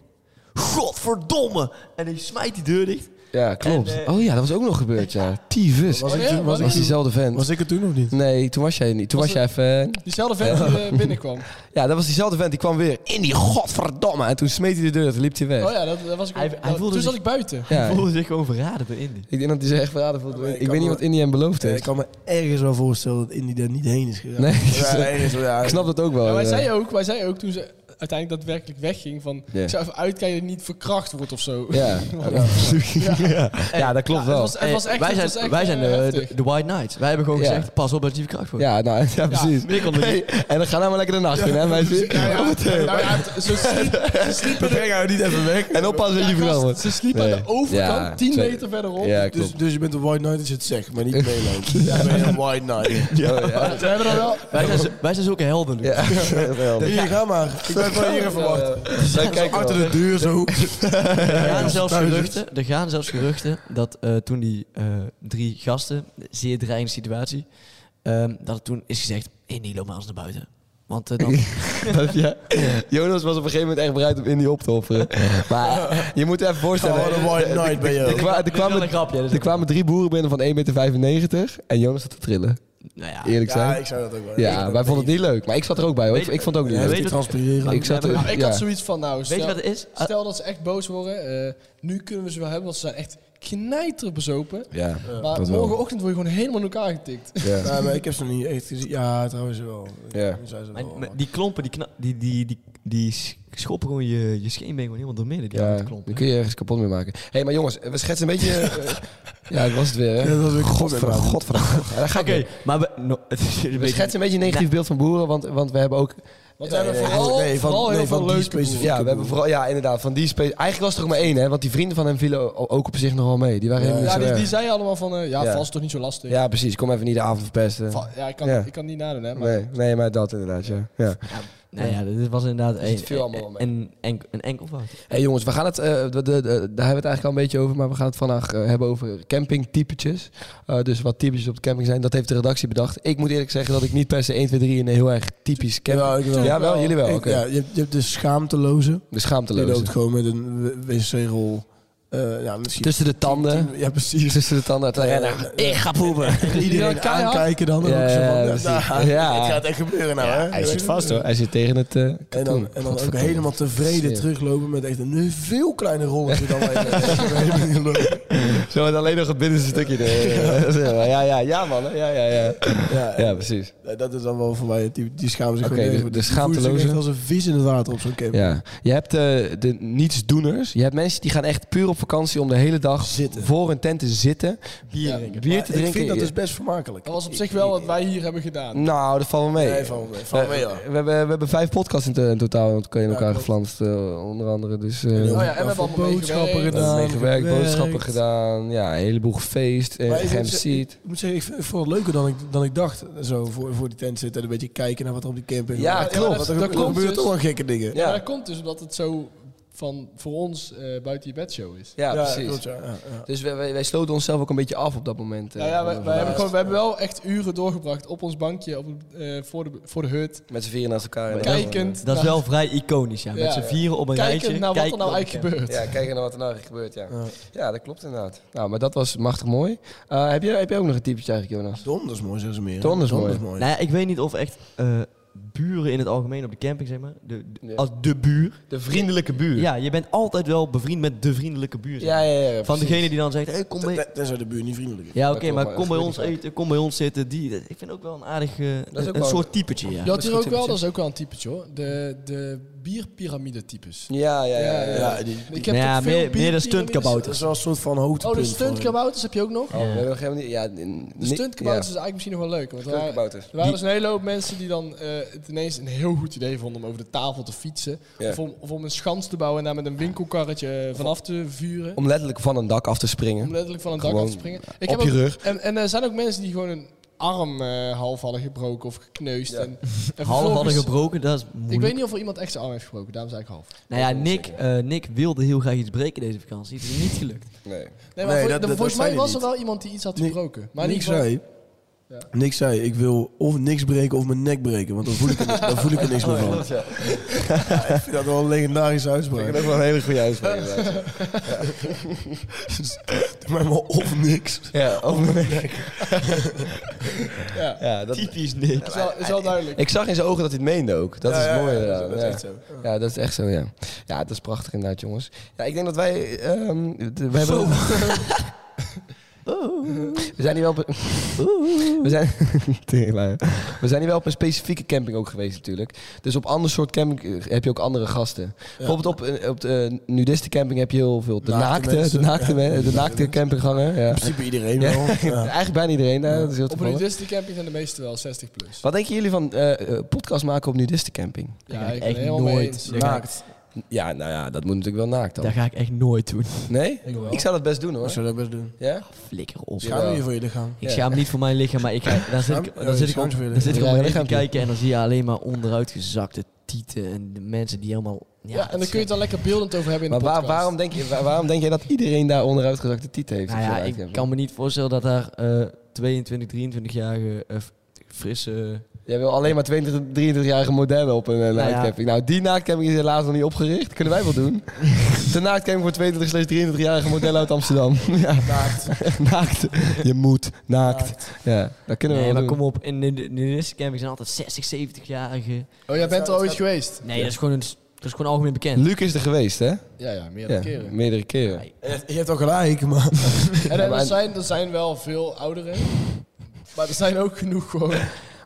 S1: Godverdomme! En hij smijt die deur dicht.
S2: Ja, klopt.
S1: En, eh,
S2: Oh ja, dat was ook nog gebeurd, ja. Tyfus.
S3: Was ik
S4: Ja,
S3: toen- was
S4: was
S3: ik
S2: was
S3: toen-
S2: diezelfde vent.
S3: was ik het toen of niet?
S2: Nee, toen was jij niet. Toen was,
S4: Was
S2: jij even...
S4: Diezelfde vent die eh, binnenkwam. Oh
S2: Ja, dat was diezelfde vent. Die kwam weer in die godverdomme. En toen smeet hij de deur. Toen liep hij weg.
S4: Oh ja, dat, dat was ik
S1: Hij-
S4: ook.
S1: hij
S4: Nou,
S1: voelde
S4: Toen zat
S1: zich-
S4: ik buiten.
S2: Ja.
S1: Hij voelde zich gewoon verraden door Indy.
S2: Ik denk dat hij zich echt verraden voelt.
S3: Ja, maar ik
S2: ik
S3: kan
S2: weet niet
S3: me-
S2: wat Indy hem beloofd
S3: Ja, ik
S2: heeft.
S3: kan me ergens wel voorstellen dat Indy daar niet heen is gegaan.
S2: Nee,
S3: ja, ergens, wel, ja.
S2: Ik snap dat ook wel.
S4: Ja, wij
S2: ja.
S4: zei ook, wij zei ook toen ze uiteindelijk daadwerkelijk wegging van...
S2: Ja.
S4: Ik zou even uitkijken dat je niet verkracht wordt of zo.
S2: Ja. Ja. Ja. Ja, dat klopt
S4: Ja, het
S2: wel.
S4: was, het was echt,
S1: Eh, wij zijn,
S4: het was echt,
S1: wij
S4: eh,
S1: zijn de,
S4: heftig.
S1: de, de White Knights. Wij hebben gewoon
S2: Ja.
S1: gezegd, pas op dat je verkracht wordt.
S2: Ja, nou, ja, precies.
S1: meer kon er
S2: Hey, en dan gaan we maar lekker de nacht in, hè, meisje?
S4: Ja, ja, nou ja, het- ze sliep- ze sliepen
S3: Ik breng haar niet even weg.
S2: En oppassen dat je verhaal
S4: Gast,
S2: wordt.
S4: Ze sliep aan
S2: Nee.
S4: de overkant,
S2: Ja,
S4: 10
S2: twee-
S4: meter verderop.
S2: Ja,
S3: Dus,
S2: klopt.
S3: dus je bent een white knight als je het zegt, maar niet meeloopt. Ja, ben je een white knight.
S4: Ze hebben dan wel...
S1: Wij zijn, zo- wij zijn zulke helden nu.
S2: Ja.
S3: Dus hier, ga maar. Ik ben van hier even wachten.
S2: Zo, kijk wel.
S3: Achter de deur zo.
S1: Er,
S2: Eh,
S1: gaan zelfs
S3: thuis
S1: geruchten, er gaan zelfs geruchten dat eh, toen die eh, drie gasten, zeer dreigende situatie, ehm, dat er toen is gezegd, Indy, loop maar eens naar buiten. Want eh, dan,
S2: Ja. Jonas was op een gegeven moment echt bereid om Indy op te offeren. Maar je moet je even voorstellen. eh,
S3: Oh, wat een white knight ben je
S2: Er,
S3: ook.
S2: kwa- er,
S1: Dit is wel een
S2: kwamen,
S1: grapje. dit is
S2: er kwamen drie boeren binnen van 1,95 meter. En Jonas zat te trillen.
S1: een- nou ja.
S2: Eerlijk
S3: Ja,
S2: zijn.
S3: ik zou dat ook wel.
S2: Ja, wij vonden het niet leuk. Maar ik zat er ook bij hoor. Ik, ik vond het ook niet
S3: Ja,
S2: leuk.
S3: weet je transpireren.
S2: Ik zat er-
S4: Nou, ik
S2: ja.
S4: had zoiets van, nou,
S1: Weet je
S4: stel,
S1: wat het is? Ah,
S4: stel dat ze echt boos worden. eh, nu kunnen we ze wel hebben, want ze zijn echt knijter bezopen.
S2: Ja,
S4: Maar
S2: dat wel.
S4: morgenochtend word je gewoon helemaal in elkaar getikt.
S2: ja.
S3: Ja, maar ik heb ze nog niet echt gezien. Ja, trouwens wel.
S2: Ja.
S3: Nu zijn ze
S1: maar-
S3: wel.
S1: maar die klompen, die, kna- die, die, die, die sch- schoppen gewoon je, je scheenbeen gewoon helemaal doormidden. Die
S2: Ja,
S1: houten
S2: daar
S1: klompen.
S2: kun je ergens kapot mee maken. Hé, maar jongens, we schetsen een beetje... eh, ja, ik was het weer,
S3: Ja,
S2: hè?
S3: dat was weer kapot mee
S2: Godver,
S3: maken.
S2: godver. Ja, daar ga ik
S1: Oké,
S2: weer.
S1: maar we, no, het is een
S2: We
S1: beetje-
S2: schetsen een beetje een negatief beeld van boeren, want, want we hebben ook... Eh,
S4: Want we hebben
S3: nee,
S4: vooral,
S3: nee, van-
S4: vooral heel
S3: nee, van
S4: veel
S3: die
S4: leuke
S3: specifieke-
S4: boeren.
S2: Ja, we hebben vooral, ja, inderdaad, van die space... Eigenlijk was er ook maar één, hè? Want die vrienden van hem vielen o- ook op zich nog wel mee. Die waren
S3: Ja,
S2: helemaal
S4: Ja,
S2: niet zo
S4: die, die
S2: erg.
S4: zeiden allemaal van, eh, ja,
S2: Ja.
S4: vast toch niet zo lastig.
S2: Ja, precies. Kom even niet de avond verpesten.
S4: Va- ja, ik, kan,
S2: Ja.
S4: ik kan niet nadoen, hè. Maar
S2: Nee, nee, maar dat inderdaad, ja. ja.
S1: Ja, nou ja, dit was inderdaad
S2: Er zit
S1: een,
S2: veel allemaal wel mee.
S1: een, een, een enkel fout.
S2: Hé hey jongens, we gaan het, eh, de, de, de- daar hebben we het eigenlijk al een beetje over, maar we gaan het vandaag eh, hebben over campingtypetjes. Eh, dus wat typetjes op de camping zijn, dat heeft de redactie bedacht. Ik moet eerlijk zeggen dat ik niet per se 1, 2, 3 een heel erg typisch camping...
S3: Jawel, ik wel.
S2: Ja, wel, jullie wel, oké.
S3: Ik- ja, je, hebt, je hebt de schaamteloze.
S2: De
S3: Die
S2: schaamteloze.
S3: loopt gewoon met een w- wc-rol. Eh, ja, misschien
S2: Tussen de tanden. nou,
S3: Ja, precies.
S2: Tussen de tanden. Het rennen.
S3: Ik ga poepen. Iedereen
S4: keihard.
S3: aankijken dan. en
S2: Ja,
S3: ook zo
S2: ja,
S3: van,
S2: precies.
S3: nou,
S2: Ja.
S3: Het gaat echt gebeuren nou, hè?
S2: Hij zit vast hoor. Hij zit tegen het eh,
S3: En
S2: katoen.
S3: dan, en dan ook
S2: Godverdomme.
S3: helemaal tevreden
S2: Shit.
S3: teruglopen met echt een veel kleiner rolletje dan wij. eh,
S2: Zo met alleen nog het binnenste stukje. er- Ja, ja, ja, ja man. hè. Ja, ja, ja.
S3: ja,
S2: Ja, precies.
S3: eh, dat is dan wel voor mij. Die, die schamen zich
S2: Oké,
S3: gewoon
S2: de-
S3: nergens.
S2: de
S3: Die voelen zich
S2: schaamteloze.
S3: echt als een vis in het water op zo'n camp.
S2: Ja. Je hebt eh, de nietsdoeners. Je hebt mensen die gaan echt puur op vakantie om de hele dag
S3: Zitten.
S2: voor een tent te zitten. Bier
S1: Bier
S2: te
S1: drinken.
S2: drinken.
S3: Ik vind dat dus best vermakelijk.
S4: dat was op zich wel wat wij hier hebben gedaan.
S2: Nou, dat valt wel mee.
S3: Nee, van, van
S2: Eh,
S3: mij, ja.
S2: we, hebben, we hebben vijf podcasts in, to- in totaal want kan je in
S3: Ja,
S2: elkaar
S3: klopt.
S2: geflanst, eh, onder andere. Dus, eh,
S3: Oh
S4: ja, en we hebben allemaal
S3: boodschappen
S4: meegewerkt.
S2: we hebben
S3: gedaan.
S2: meegewerkt, boodschappen gedaan. gedaan. Ja, een heleboel gefeest. eh, Dus
S3: Maar
S2: En
S3: ik, moet zeggen,
S2: geëmceed.
S3: ik moet zeggen, ik vind- ik vond het leuker dan ik, dan ik dacht. eh, Zo voor, voor die tent zitten en een beetje kijken naar wat er op die camping
S2: Ja,
S3: gebeurt.
S2: klopt.
S3: Want
S4: Dat
S3: Er, er
S4: klopt
S3: gebeuren
S4: dus.
S3: toch wel gekke dingen.
S4: Ja.
S2: Ja.
S4: Maar dat komt dus omdat het zo van voor ons eh, buiten je bedshow is.
S2: Ja,
S3: Ja,
S2: precies.
S3: klopt, ja, ja, ja.
S2: Dus wij, wij, wij sloten onszelf ook een beetje af op dat moment. eh,
S4: Nou ja, wij,
S2: van-
S4: wij hebben
S2: van-
S4: gewoon, we hebben wel echt uren doorgebracht op ons bankje op, het- eh, voor, de, voor de hut.
S2: Met z'n vieren naast elkaar. en-
S4: Kijkend.
S1: Dat is
S4: naar-
S1: wel vrij iconisch, ja. Met
S4: Ja,
S1: z'n
S4: ja.
S1: vieren op een rijtje.
S4: kijkend naar wat er
S1: Kijk
S4: nou
S1: dat
S4: eigenlijk
S1: bekend.
S4: gebeurt.
S2: Ja, kijken naar wat er nou echt gebeurt, ja.
S3: Ja.
S2: Ja, dat klopt inderdaad. Nou, maar dat was machtig mooi. Eh, heb, jij, heb jij ook nog een typetje eigenlijk, Jonas?
S3: Donders mooi, zeggen ze meer. hè?
S2: Donders mooi.
S3: mooi.
S1: Nou ja, ik weet niet of echt eh, buren in het algemeen op de camping, zeg maar. De, de-
S2: Ja.
S1: Als de buur.
S2: De vriendelijke buur. Ja,
S1: Ja, je bent altijd wel bevriend met de vriendelijke buur. zeg
S2: ja,
S1: maar.
S2: ja. ja,
S1: Van
S2: precies.
S1: degene die dan zegt, hey, kom mee.
S3: Ten- Tenzij de buur niet vriendelijk is.
S1: Ja, oké,
S2: klopt,
S1: maar
S2: maar
S1: kom
S2: dat
S1: bij
S2: gebeurt
S1: ons
S2: niet vaak.
S1: eten, kom bij ons zitten. Die, dat- ik vind ook wel een aardig, eh,
S2: is ook
S1: een
S2: wel-
S1: soort typetje, ja.
S4: Je had hier ook
S2: misschien
S4: wel, dat is ook wel een typetje hoor. De, de bierpiramide types.
S2: Ja, ja, ja. ja,
S3: Ja, die,
S4: Ik
S1: Nou
S4: heb
S1: ja, meer, meer de
S4: toch veel bierpyramides?
S3: dat
S1: stuntkabouters.
S3: is wel een soort van
S4: Oh,
S3: hoogtepunt.
S4: de
S3: van-
S4: stuntkabouters heb je ook nog?
S2: Oh, we hebben nog helemaal niet... Ja, n-
S4: De
S2: ni-
S4: stuntkabouters
S2: ja.
S4: is eigenlijk misschien nog wel leuk. Want er waren-
S2: Stuntkabouters.
S4: er waren dus een hele hoop mensen die dan eh, het ineens een heel goed idee vonden om over de tafel te fietsen.
S2: Ja.
S4: Of, om, of om een schans te bouwen en daar met een winkelkarretje eh, vanaf te vuren.
S2: Om letterlijk van een dak af te
S4: Om
S2: springen.
S4: letterlijk van een dak
S2: Gewoon
S4: af te springen.
S2: op je
S4: ook-
S2: rug.
S4: En, en er zijn ook mensen die gewoon een arm eh, half hadden gebroken of gekneusd.
S2: Ja.
S4: En, en
S1: Half hadden
S4: vervolgens-
S1: gebroken, dat is
S4: Ik weet
S1: moeilijk.
S4: niet of er iemand echt zijn arm heeft gebroken, daarom zei ik half.
S1: Nou ja, Nick, eh, Nick wilde heel graag iets breken deze vakantie. Het is niet gelukt.
S2: Nee.
S3: Nee,
S4: Nee, maar vol-
S3: dat-
S4: de-
S3: dat-
S4: volgens
S3: dat
S4: mij
S3: zei
S4: was
S3: hij
S4: er wel iemand die iets had
S3: Ni-
S4: gebroken. Maar in
S3: niks
S4: ieder geval-
S3: zei. Niks zei, ik wil of niks breken of mijn nek breken, want dan voel ik er, dan voel ik er niks meer van.
S4: Oh,
S3: Ja, ik vind dat wel een legendarische
S2: Ik
S3: uitspraak.
S2: heb ook wel een hele goede uitspraak. inderdaad.
S3: Doe mij maar of niks.
S2: ja, over mijn nek.
S4: Ja.
S2: Ja, dat...
S1: Typisch Nick.
S4: Is wel, is wel duidelijk.
S2: Ik zag in zijn ogen dat hij het meende ook. Dat
S3: Ja, ja,
S2: is mooi.
S3: ja,
S2: inderdaad.
S3: dat is- dat is
S2: Ja.
S3: echt zo. Oh.
S2: Ja, dat is echt zo, ja. Ja, dat is prachtig inderdaad, jongens. Ja, ik denk dat wij... ehm, de- we, hebben we zijn hier wel op... een- we, zijn... Teringlaaier. we zijn hier wel op een specifieke camping ook geweest natuurlijk. Dus op ander soort camping eh, heb je ook andere gasten. Bijvoorbeeld op, eh, op de eh, nudistencamping heb je heel veel... De
S3: Naakte
S2: naakte, de
S3: mensen.
S2: naakte, men- de
S3: naakte
S2: naakte
S3: mensen.
S2: campingganger. Ja.
S3: In principe iedereen
S2: Ja.
S3: wel. Ja.
S2: Eigenlijk bijna iedereen daar. Dat is heel
S4: Op
S2: toevallig.
S4: een Disney camping zijn de meeste wel 60 plus.
S2: Wat denken jullie van eh, eh, podcast maken op nudistencamping?
S4: Ja,
S1: Daar ga
S4: ik
S1: ik
S4: ben
S1: echt
S4: helemaal mee
S1: nooit.
S4: eens.
S1: Daar ga ik-
S2: Ja, nou ja, dat moet natuurlijk wel naakt dan.
S1: Daar ga ik echt nooit doen.
S2: Nee?
S3: Ik wel.
S2: Ik zou dat best doen hoor.
S3: Ik zou dat best doen.
S2: Ja?
S1: Flikker op.
S2: Ja. oh,
S3: Schaam je voor je lichaam?
S1: Ik schaam me niet voor mijn lichaam, maar ik ga, daar zit ik,
S3: Schaam-
S1: daar zit ik,
S3: schaam
S1: op,
S3: je voor je
S1: daar zit ik
S2: lichaam.
S1: om me
S2: Ja,
S1: heen te
S2: lichaampje.
S1: kijken en dan zie je alleen maar onderuitgezakte tieten en de mensen die helemaal... Ja,
S4: Ja, en dan kun je het dan lekker beeldend over hebben in
S2: Maar
S4: de
S2: waar-
S4: podcast.
S2: waarom, denk je, waar- waarom denk jij dat iedereen daar onderuitgezakte titel heeft?
S1: Nou
S2: op
S1: ja,
S2: zo'n
S1: ik
S2: uitzending?
S1: kan me niet voorstellen dat daar eh 22, 23-jarige eh, f- frisse...
S2: Jij wil alleen maar 20, 23-jarige modellen op een eh, nightcamping. Nou, die nightcamping is helaas nog niet opgericht. Kunnen wij wel doen. De nightcamping voor 22 23-jarige modellen uit Amsterdam. ja. Naakt. Je moet. Naakt. Ja, dat kunnen we
S1: Nee,
S2: wel
S1: maar
S2: doen.
S1: kom op, in de, de nudiste camping zijn altijd 60, 70-jarigen.
S4: Oh, jij bent er ooit geweest?
S1: Nee, dat, is gewoon een, s- dat is gewoon algemeen bekend.
S2: Luc is er geweest, hè?
S4: Ja, ja, meerdere
S2: Ja,
S4: keren.
S2: meerdere keren.
S1: Ja,
S3: Je hebt- Je hebt al gelijk, maar...
S4: En
S2: maar-
S4: er zijn, er zijn wel veel ouderen. Maar er zijn ook genoeg gewoon,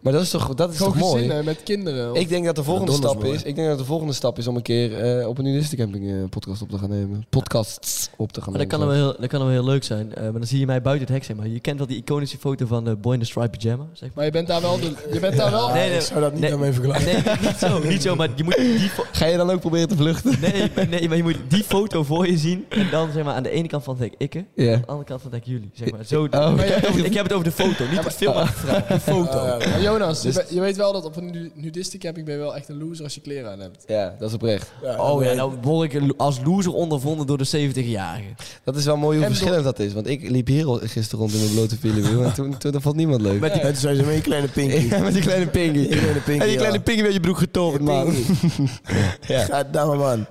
S2: Maar dat is toch, dat is
S4: gewoon
S2: toch mooi?
S4: gezinnen met kinderen.
S2: Ik denk dat de volgende
S3: donders
S2: stap
S3: mooi.
S2: is. Ik denk dat de volgende stap is om een keer eh, op een nudistencamping eh podcast op te gaan nemen. Podcasts op te gaan
S1: Maar dat
S2: nemen.
S1: kan, wel heel, dat kan wel heel leuk zijn. eh, maar dan zie je mij buiten het hek, zeg maar. Je kent wel die iconische foto van eh, Boy in the Striped Pyjama, zeg maar.
S4: Maar je bent daar wel... De, je bent daar wel...
S1: Nee, nee.
S3: Ik zou dat niet
S1: Nee.
S3: daarmee vergelijken.
S1: Nee, niet zo, niet zo, maar je moet die fo-
S2: Ga je dan ook proberen te vluchten?
S1: nee, nee, maar je moet die foto voor je zien en dan zeg maar aan de ene kant van het hek ikke, aan
S2: Ja.
S1: de andere kant van het hek jullie, zeg maar. Zo,
S2: Oh,
S1: Maar
S2: oké.
S1: jij- ik heb het over de foto, niet het film, maar de vrouw, de foto.
S4: Oh, Maar Jonas, je, be- je weet wel dat op een nu- nudistencamping ben je wel echt een loser als je kleren aan hebt.
S2: Ja, dat is oprecht.
S1: Oh ja, nou word ik als loser ondervonden door de 70-jarigen.
S2: Dat is wel mooi hoe
S4: En
S2: verschillend dat is. Want ik liep hier al gisteren rond in mijn blote filibuur. En toen, toen dat vond niemand leuk.
S3: En toen zei ze, met je kleine pinky.
S2: Ja, met die kleine pinky.
S3: kleine pinky,
S2: en die
S3: ja.
S2: kleine pinky werd je broek getoverd, man. Ja.
S3: Ga daar maar aan.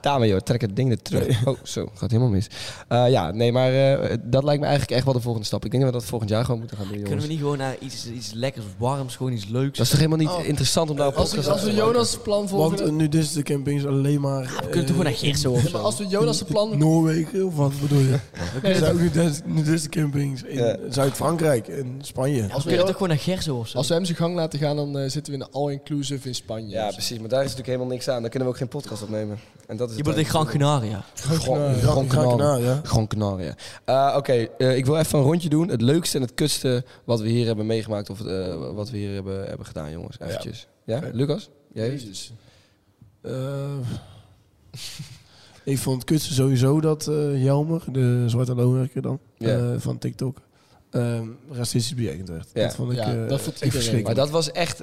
S2: Dame, joh, trek het ding er terug. Oh, zo, gaat helemaal mis. Eh, ja, nee, maar eh, dat lijkt me eigenlijk echt wel de volgende stap. Ik denk dat we dat volgend jaar gewoon moeten gaan doen,
S1: Kunnen we
S2: jongens.
S1: niet gewoon naar iets, iets lekkers warms, gewoon iets leuks?
S2: Dat is toch helemaal niet interessant om daar op
S4: Als we, als we Jonas' plan volgen...
S3: Want eh, nu is de camping is alleen maar... eh,
S1: we kunnen toch gewoon naar Gerso of
S4: Ja, maar
S1: zo?
S4: Eh, als we Jonas' plan...
S3: Noorwegen of wat bedoel je? Er
S4: Nee,
S3: zijn ook nu des- nu dus de campings in
S2: Ja.
S3: Zuid-Frankrijk en Spanje.
S1: We
S4: als we,
S1: kunnen toch gewoon naar Gerso of zo?
S4: als we hem zijn gang laten gaan, dan eh, zitten we in een all-inclusive in Spanje.
S2: Ja, precies. Maar daar is natuurlijk helemaal niks aan. Daar kunnen we ook geen podcast opnemen. En dat is
S1: Je bedoelt in Gran Canaria.
S3: Gran- Gran Canaria.
S2: Gran Canaria. Eh, Oké, eh, ik wil even een rondje doen. Het leukste en het kutste wat we hier hebben meegemaakt of eh, wat we hier hebben, hebben gedaan, jongens. Eventjes. Ja, Lucas? Jij?
S4: Jezus.
S3: Eh, Ik vond het kutste sowieso dat eh Jelmer, de zwarte loonwerker dan,
S2: Ja.
S3: eh, van TikTok, ehm, racistisch bejegend werd.
S2: Ja.
S3: Dat vond ik,
S4: Ja,
S3: eh,
S4: dat vond
S3: echt
S4: iedereen.
S2: Maar
S3: verschrikkelijk.
S2: dat was echt...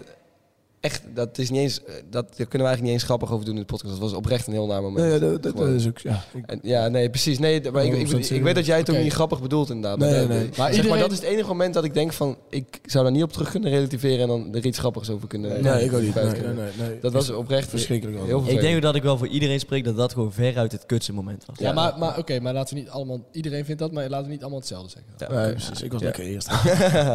S2: Echt, dat is niet eens... eh, Dat, daar kunnen we eigenlijk niet eens grappig over doen in de podcast. Dat was oprecht een heel naar moment.
S3: Nee, dat, eh, dat, dat
S2: Gewoon.
S3: is ook... Ja, ik-
S2: En, eh, ja, nee, precies. Nee, d- maar ik, ik, ik,
S3: 100% zeker.
S2: weet dat jij het ook
S4: Oké.
S2: niet grappig bedoelt inderdaad.
S3: Nee,
S2: maar,
S3: nee.
S2: maar, zeg
S4: iedereen-
S2: maar dat is het enige moment dat ik denk van... Ik zou daar niet op terug kunnen relativeren en dan er iets grappigs over kunnen...
S3: nee, ik ook niet. Nee,
S2: kwijt
S3: nee,
S2: kunnen.
S3: nee, nee.
S2: Dat was oprecht
S3: verschrikkelijk
S2: heel
S3: allemaal.
S2: vervelend.
S1: Ik denk dat ik wel voor iedereen spreek dat dat gewoon veruit het kutste moment was.
S4: Ja,
S2: Ja.
S4: maar, maar oké, maar laten we niet allemaal... Iedereen vindt dat, maar laten we niet allemaal hetzelfde zeggen.
S2: Ja,
S3: Nee,
S2: oké.
S3: precies. Ik was
S2: Ja.
S3: lekker eerst.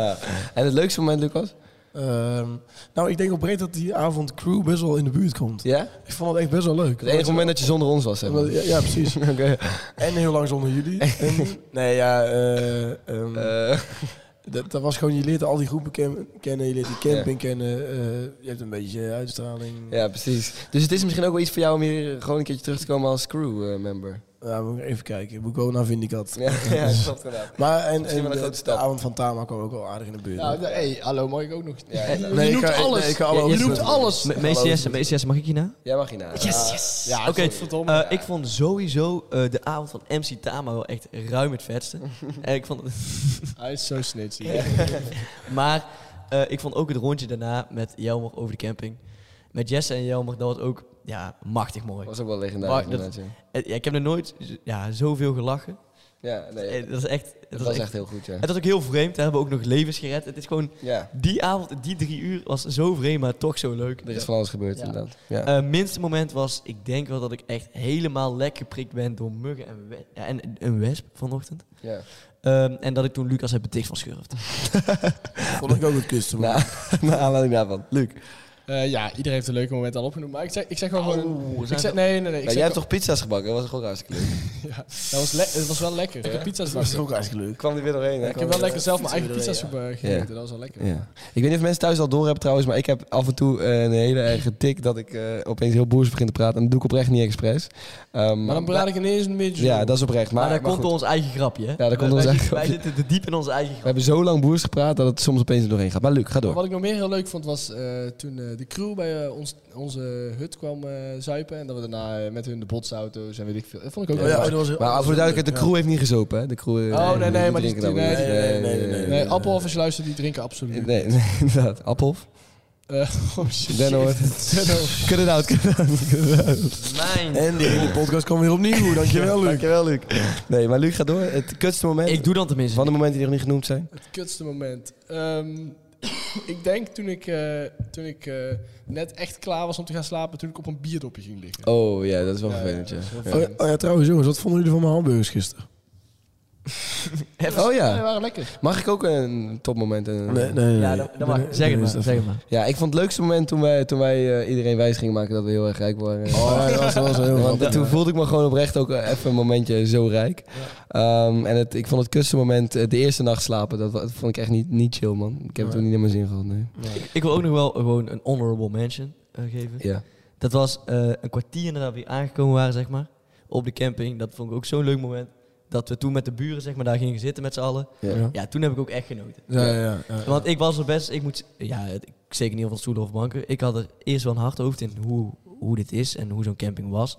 S2: en het leukste moment, Lucas?
S3: Ehm, nou, ik denk oprecht dat die avond crew best wel in de buurt komt.
S2: Ja?
S3: Ik vond het echt best wel leuk.
S2: Het enige moment dat je zonder ons was, zeg maar.
S3: Omdat- ja, ja, precies.
S2: Oké.
S3: En heel lang zonder jullie. En- nee, ja. eh, ehm,
S2: Eh,
S3: dat, dat was gewoon, je leert al die groepen ken- kennen. Je leert die camping kennen. eh, je hebt een beetje uitstraling.
S2: ja, precies. Dus het is misschien ook wel iets voor jou om hier gewoon een keertje terug te komen als crewmember.
S3: Ja, moet ik even kijken. Moet ik wel naar Vindicat.
S2: ja, ja, klopt inderdaad.
S3: Maar en,
S2: Misschien
S3: en
S2: wel een
S3: de,
S2: grote
S3: de
S2: stap.
S3: avond van Tama kwam ook wel aardig in de buurt.
S4: Ja, nou, hey, hallo, mag ik ook nog?
S2: Ja,
S4: je
S2: ja.
S3: Nee, ik
S4: noemt
S3: kan- nee,
S4: alles.
S3: ik kan alle
S4: je
S3: andere
S4: noemt
S3: doen.
S4: alles.
S1: Me- Meester Jesse, meester Jesse, mag ik hierna?
S2: Jij mag Ah. hierna.
S1: Yes, yes.
S4: Ja,
S1: Oké,
S4: godverdomme,
S1: eh,
S4: ja.
S1: ik vond sowieso eh, de avond van MC Tama wel echt ruim het vetste. en ik vond het,
S4: Hij is zo snitchy.
S1: maar eh, ik vond ook het rondje daarna met Jelmer over de camping. Met Jesse en Jelmer, dat was ook ja, machtig mooi.
S2: was ook wel legendarisch.
S1: Maar dat-
S2: inderdaad, ja.
S1: Eh, ja, ik heb nog nooit z- ja, zoveel gelachen.
S2: Ja, nee.
S1: Eh, dat is echt...
S2: Dat was echt heel goed, ja.
S1: Het was ook heel vreemd. Daar hebben we ook nog levens gered. Het is gewoon...
S2: Ja,
S1: Die avond, die drie uur was zo vreemd, maar toch zo leuk.
S2: er is van alles gebeurd,
S4: Ja.
S2: inderdaad. Ja.
S1: Eh, minste moment was, ik denk wel dat ik echt helemaal lek geprikt ben door muggen en, we- ja, en een wesp vanochtend.
S2: ja.
S1: Ehm, en dat ik toen Lucas heb beticht van schurft.
S3: Vond ik ook het kusten.
S2: Na, naar aanleiding daarvan. Luc,
S4: Eh, ja, iedereen heeft een leuke moment al opgenoemd. Maar ik zeg, ik zeg
S2: Oh,
S4: wel gewoon...
S1: Oeh,
S4: ik
S1: zijn
S4: zeg, nee, nee, nee. Ik
S2: nou,
S4: zeg
S2: jij hebt
S4: wel-
S2: toch pizza's gebakken? Dat was toch ook hartstikke leuk?
S4: ja, dat was, le- het was wel lekker. Ik heb pizza's
S3: Dat was
S4: gebakken.
S3: ook hartstikke leuk.
S2: kwam er weer doorheen. hè?
S4: Ik heb wel lekker zelf mijn eigen
S3: Fietsen
S4: pizza's
S3: we
S4: gebe- gegeten. Dat was wel lekker.
S2: Ja. Ik weet niet of mensen thuis al door hebben trouwens, maar ik heb af en toe eh, een hele erge tik dat ik eh, opeens heel boers begin te praten. En dat doe ik oprecht niet expres. Ehm,
S4: Maar dan praat ik ineens een beetje zo.
S2: Ja, dat is oprecht. Maar,
S1: Maar, dat
S2: maar
S1: komt
S2: goed.
S1: door ons eigen grapje, hè?
S2: dat komt
S1: Wij-
S2: door ons
S1: wij
S2: eigen
S1: zitten- Wij
S2: grapje.
S1: zitten te diep in onze eigen
S2: We
S1: grap.
S2: hebben zo lang boers gepraat dat het soms opeens er doorheen gaat. Maar Luc, ga door.
S4: Wat ik nog meer heel leuk vond was eh, toen eh, de crew bij eh, ons, onze hut kwam eh, zuipen. En dat we daarna eh, met hun de botsauto's en weet ik veel. Dat vond ik ook
S3: Oh
S4: wel
S3: ja,
S4: leuk.
S3: dat was heel-
S2: Maar voor de duidelijkheid, de crew heeft niet gezopen, hè? De crew, eh,
S4: Oh, nee, nee,
S2: die
S4: maar die-
S2: drinken dan
S4: die-
S2: weer
S3: nee,
S2: niet.
S3: nee, nee, nee,
S4: Nee, Appelhof, als je luistert, die drinken absoluut niet.
S2: Nee, nee, inderdaad. Appelhof.
S4: Eh, oh, shit.
S2: Den hoort. Cut it out, cut it out, cut it out.
S1: Mijn.
S3: En de hele podcast kwam weer opnieuw. Dankjewel, Luc.
S2: Dankjewel, Luc. Nee, maar Luc, ga door. Het kutste moment.
S1: Ik doe dan tenminste.
S2: Van de momenten die nog niet genoemd zijn.
S4: Het kutste moment. Ehm, ik denk toen ik, eh, toen ik eh, net echt klaar was om te gaan slapen, toen ik op een bierdopje ging liggen.
S2: Oh ja, dat is wel
S4: Ja,
S2: vervelend,
S4: ja,
S2: ja.
S4: dat is heel
S3: Oh ja, oh ja, trouwens jongens, wat vonden jullie van mijn hamburgers gisteren?
S1: Even-
S2: Oh
S4: Die
S2: ja,
S4: waren lekker.
S2: mag ik ook een topmoment? en-
S3: nee,
S1: Ja, dan, dan mag. Zeg het maar, zeg het maar.
S2: Ja, ik vond het leukste moment toen wij, toen wij eh, iedereen wijs gingen maken dat we heel erg rijk waren.
S3: Oh, ja, dat was, dat was heel
S2: Want
S3: grappig.
S2: toen voelde ik me gewoon oprecht ook eh, even een momentje zo rijk. Ehm, en het, ik vond het kutste moment, eh, de eerste nacht slapen, dat, wa- dat vond ik echt niet, niet chill, man. Ik heb het toen niet naar mijn zin gehad, nee.
S1: Ik wil ook nog wel gewoon een honorable mention eh, geven.
S2: Ja.
S1: Dat was eh, een kwartier nadat we hier aangekomen waren, zeg maar. Op de camping. Dat vond ik ook zo'n leuk moment. Dat we toen met de buren, zeg maar, daar gingen zitten met z'n allen.
S2: Ja.
S1: Ja, toen heb ik ook echt genoten.
S3: Ja, ja, ja, ja.
S1: Want ik was er best, ik moet, ja, het- ik- zeker niet van stoelen of banken. Ik had er eerst wel een hard hoofd in hoe, hoe dit is en hoe zo'n camping was.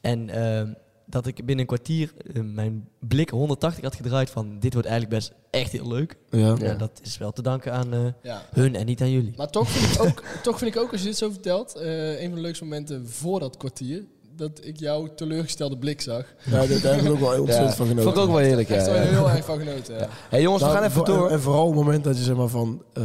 S1: En ehm, dat ik binnen een kwartier eh, mijn blik 180 had gedraaid van dit wordt eigenlijk best echt heel leuk.
S3: Ja.
S1: Ja. dat is wel te danken aan eh,
S4: Ja.
S1: hun en niet aan jullie.
S4: Maar toch vind, ik ook, toch vind ik ook, als je dit zo vertelt, eh, een van de leukste momenten voor dat kwartier, dat ik jouw teleurgestelde blik zag.
S3: Ja, daar daar heb ik ook wel heel ontzettend
S2: Ja.
S3: van
S2: Vond ik
S3: genoten.
S2: ook wel heerlijk, ja.
S4: Echt wel
S2: ja.
S4: heel erg van genoten. Ja.
S2: Hey, jongens, we
S3: Nou,
S2: gaan even
S3: voor-
S2: door.
S3: En vooral het moment dat je zeg maar van eh,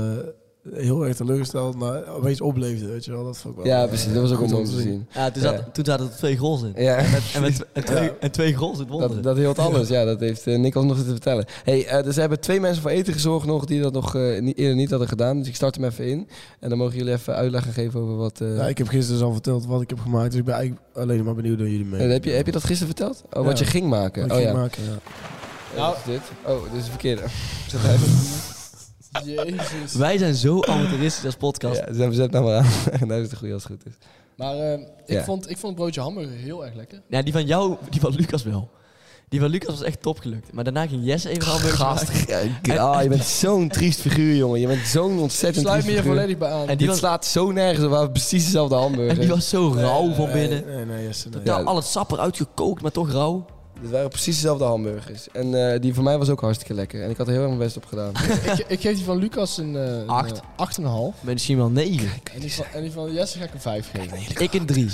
S3: heel erg teleurgesteld naar opeens opleefde, weet je wel. Dat vond ik wel.
S2: Ja,
S3: eh,
S2: precies. Dat was ook
S3: goed
S2: een
S3: om
S2: moment te zien.
S1: Ja, toen, zat, toen zaten er twee goals in.
S2: Ja.
S1: En, met, en, met, en twee,
S3: Ja.
S1: en twee goals, het wonder.
S2: Dat, dat hield alles, ja. Dat heeft eh, Nick ons nog te vertellen. Hey, eh, dus er hebben twee mensen voor eten gezorgd nog die dat nog eh, niet, eerder niet hadden gedaan. Dus ik start hem even in. En dan mogen jullie even uitleg geven over wat... eh,
S3: Ja, ik heb gisteren dus al verteld wat ik heb gemaakt, dus ik ben eigenlijk alleen maar benieuwd door jullie mee.
S2: eh, heb, je, heb je dat gisteren verteld? Oh, wat
S3: Ja.
S2: je ging maken.
S3: Wat ik
S2: oh
S3: ging
S2: ja.
S3: maken, ja.
S2: Nou.
S4: Nou.
S2: Wat is dit? Oh, dit is de verkeerde. Zet hem even.
S4: Jezus.
S1: Wij zijn zo amateuristisch als podcast.
S2: Ja, zet, zet nou maar aan. en daar is de goede als het goed is.
S4: Maar eh, ik,
S2: Ja.
S4: vond, ik vond het broodje hamburger heel erg lekker.
S1: Ja, die van jou, die van Lucas wel. Die van Lucas was echt top gelukt. Maar daarna ging Jesse even hamburgers maken.
S2: Gast, ja, ah, je bent zo'n triest figuur, jongen. Je bent zo'n ontzettend
S4: Sluit me
S2: triest
S4: hier
S2: figuur.
S4: volledig bij aan.
S2: En
S1: En die
S2: die
S1: was-
S2: slaat zo nergens op. We hadden precies dezelfde hamburger.
S1: En die was zo rauw van
S3: Nee,
S1: binnen.
S3: Nee, nee, Jesse, nee.
S1: Totaal al het sap eruit gekookt, maar toch rauw.
S2: Dit waren precies dezelfde hamburgers. En eh, die van mij was ook hartstikke lekker. En ik had er heel erg mijn best op gedaan.
S4: ik, ik geef die van Lucas een eh,
S2: Ah.
S1: Acht.
S4: een, eh, acht en een half.
S1: Misschien wel negen.
S4: En die van, en die van Jesse ga ik een vijf geven.
S1: Ik een drie.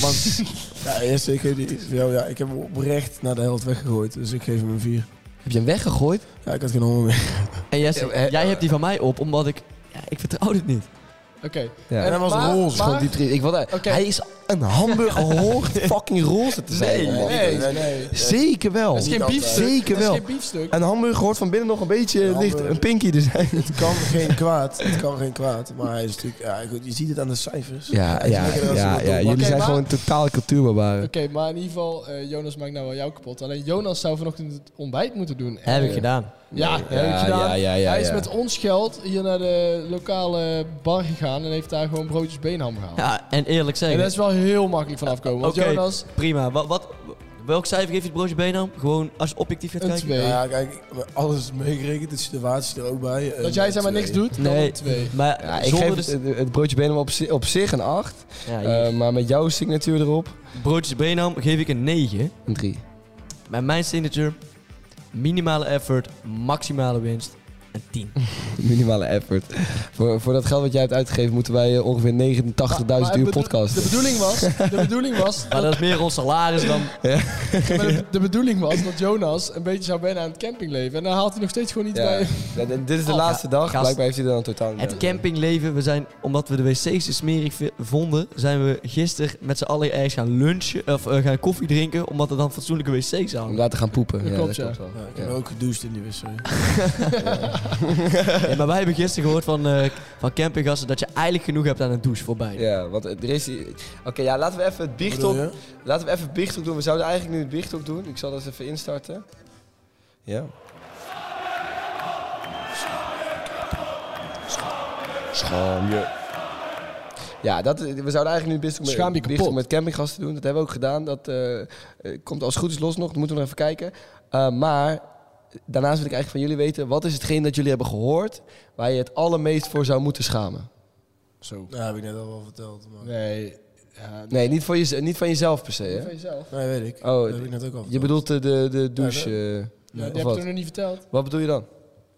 S1: Want
S3: Ja, Jesse, ik geef die voor jou, ja, ik heb hem oprecht naar de helft weggegooid. Dus ik geef hem een 4.
S2: Heb je hem weggegooid?
S3: Ja, ik had geen honger meer.
S1: En Jesse,
S2: Ja, eh,
S1: jij hebt die van mij op, omdat ik... Ja, ik vertrouw dit niet.
S4: Oké.
S2: Ja.
S3: En hij was
S4: maar-
S3: roze.
S2: Gewoon
S4: maar-
S2: diep triest. Ik wilde,
S4: Oké.
S2: Hij is een hamburger hoort fucking roze te zijn. man.
S4: nee, nee.
S2: Zeker wel.
S4: Dat is geen biefstuk.
S2: Zeker
S4: Dat
S2: wel.
S4: is geen biefstuk.
S2: Een hamburger hoort van binnen nog een beetje
S3: Een
S2: licht.
S3: hamburger.
S2: Een pinky te zijn.
S3: Het kan geen kwaad. Het kan geen kwaad. Maar hij is natuurlijk... Ja, goed, je ziet het aan de cijfers.
S2: Ja,
S3: Hij is
S2: ja,
S3: lekker als
S2: ja,
S3: een
S2: ja.
S3: dom-
S2: Jullie
S4: Oké,
S2: zijn
S4: maar-
S2: gewoon totale cultuurbarbaren.
S4: Oké, maar in ieder geval, eh, Jonas maakt nou wel jou kapot. Alleen Jonas zou vanochtend het ontbijt moeten doen. En-
S1: Heb ik gedaan.
S4: Ja, heb ik
S2: Ja,
S4: gedaan.
S2: ja, ja, ja,
S4: Hij is
S2: ja.
S4: met eh, ons geld hier naar de lokale bar gegaan en heeft daar gewoon broodjes beenham gehaald.
S1: Ja, en eerlijk
S4: En
S1: zeggen...
S4: dat is wel heel makkelijk vanaf komen. Want
S1: Oké,
S4: Jonas,
S1: prima. Wat, wat, welk cijfer geef je het broodje Benam? Gewoon als je objectief gaat
S4: Een
S1: kijken.
S4: twee.
S3: Ja, kijk, alles is meegerekend. De situatie er ook bij.
S4: dat jij zeg maar niks doet, dan
S1: Nee.
S4: een twee.
S1: Maar
S2: Ja, ik
S1: zonder
S2: geef
S1: dus...
S2: het, eh, het broodje benen op, zi- op zich een 8.
S1: ja, hier.
S2: maar met jouw signatuur erop
S1: broodjes Benam geef ik een 9.
S2: een 3.
S1: Bij mijn signature, minimale effort, maximale winst, een 10.
S2: Minimale effort. voor, voor dat geld wat jij hebt uitgegeven moeten wij eh, ongeveer 89.000
S4: Maar het
S2: uur
S4: bedo-
S2: podcast.
S4: De bedoeling was, de bedoeling was,
S1: Maar
S4: dat,
S1: dat is meer ons salaris dan...
S4: maar de, de bedoeling was dat Jonas een beetje zou wennen aan het campingleven. En dan haalt hij nog steeds gewoon niet
S2: Ja.
S4: bij.
S2: Ja, d- dit is de
S1: Oh,
S2: laatste dag.
S1: gast.
S2: Blijkbaar heeft hij er dan totaal niet
S1: Het
S2: aan.
S1: campingleven, we zijn, omdat we de wc's te smerig vi- vonden, zijn we gisteren met z'n allen ergens gaan lunchen, of eh, gaan koffie drinken, omdat er dan fatsoenlijke wc's
S2: Om
S1: aan.
S2: daar te gaan poepen.
S4: Dat
S2: ja, dat
S4: klopt, ja.
S2: klopt wel.
S3: Ja, ik heb ook gedoucht in die wissel.
S1: Ja, maar wij hebben gisteren gehoord van, eh, van campinggasten dat je eigenlijk genoeg hebt aan een douche voor beide.
S2: Ja, want er is... hier- Oké, ja, laten we even het biechthok... Laten we even het biechthok doen. We zouden eigenlijk nu het biechthok doen. Ik zal dat eens even instarten. Ja. Schaam je. Ja, dat, we zouden eigenlijk nu het biechthok met,
S4: Schaam je kapot.
S2: biechthok met campinggasten doen. Dat hebben we ook gedaan. Dat eh, eh, komt als het goed is los nog. Dat moeten we nog even kijken. Eh, maar daarnaast wil ik eigenlijk van jullie weten... wat is hetgeen dat jullie hebben gehoord... waar je het allermeest voor zou moeten schamen?
S4: Zo.
S3: Dat heb ik net al wel verteld. Maar...
S4: Nee. Ja,
S2: Nee, niet, voor je, niet van jezelf per se,
S4: dat
S2: hè?
S4: van jezelf.
S3: Nee, weet ik.
S2: Oh,
S3: dat heb ik net ook al
S2: Je
S3: verteld.
S2: bedoelt de, de, de douche. eh,
S4: Ja,
S2: of
S4: die heb
S2: wat?
S4: ik nog niet verteld.
S2: Wat bedoel je dan?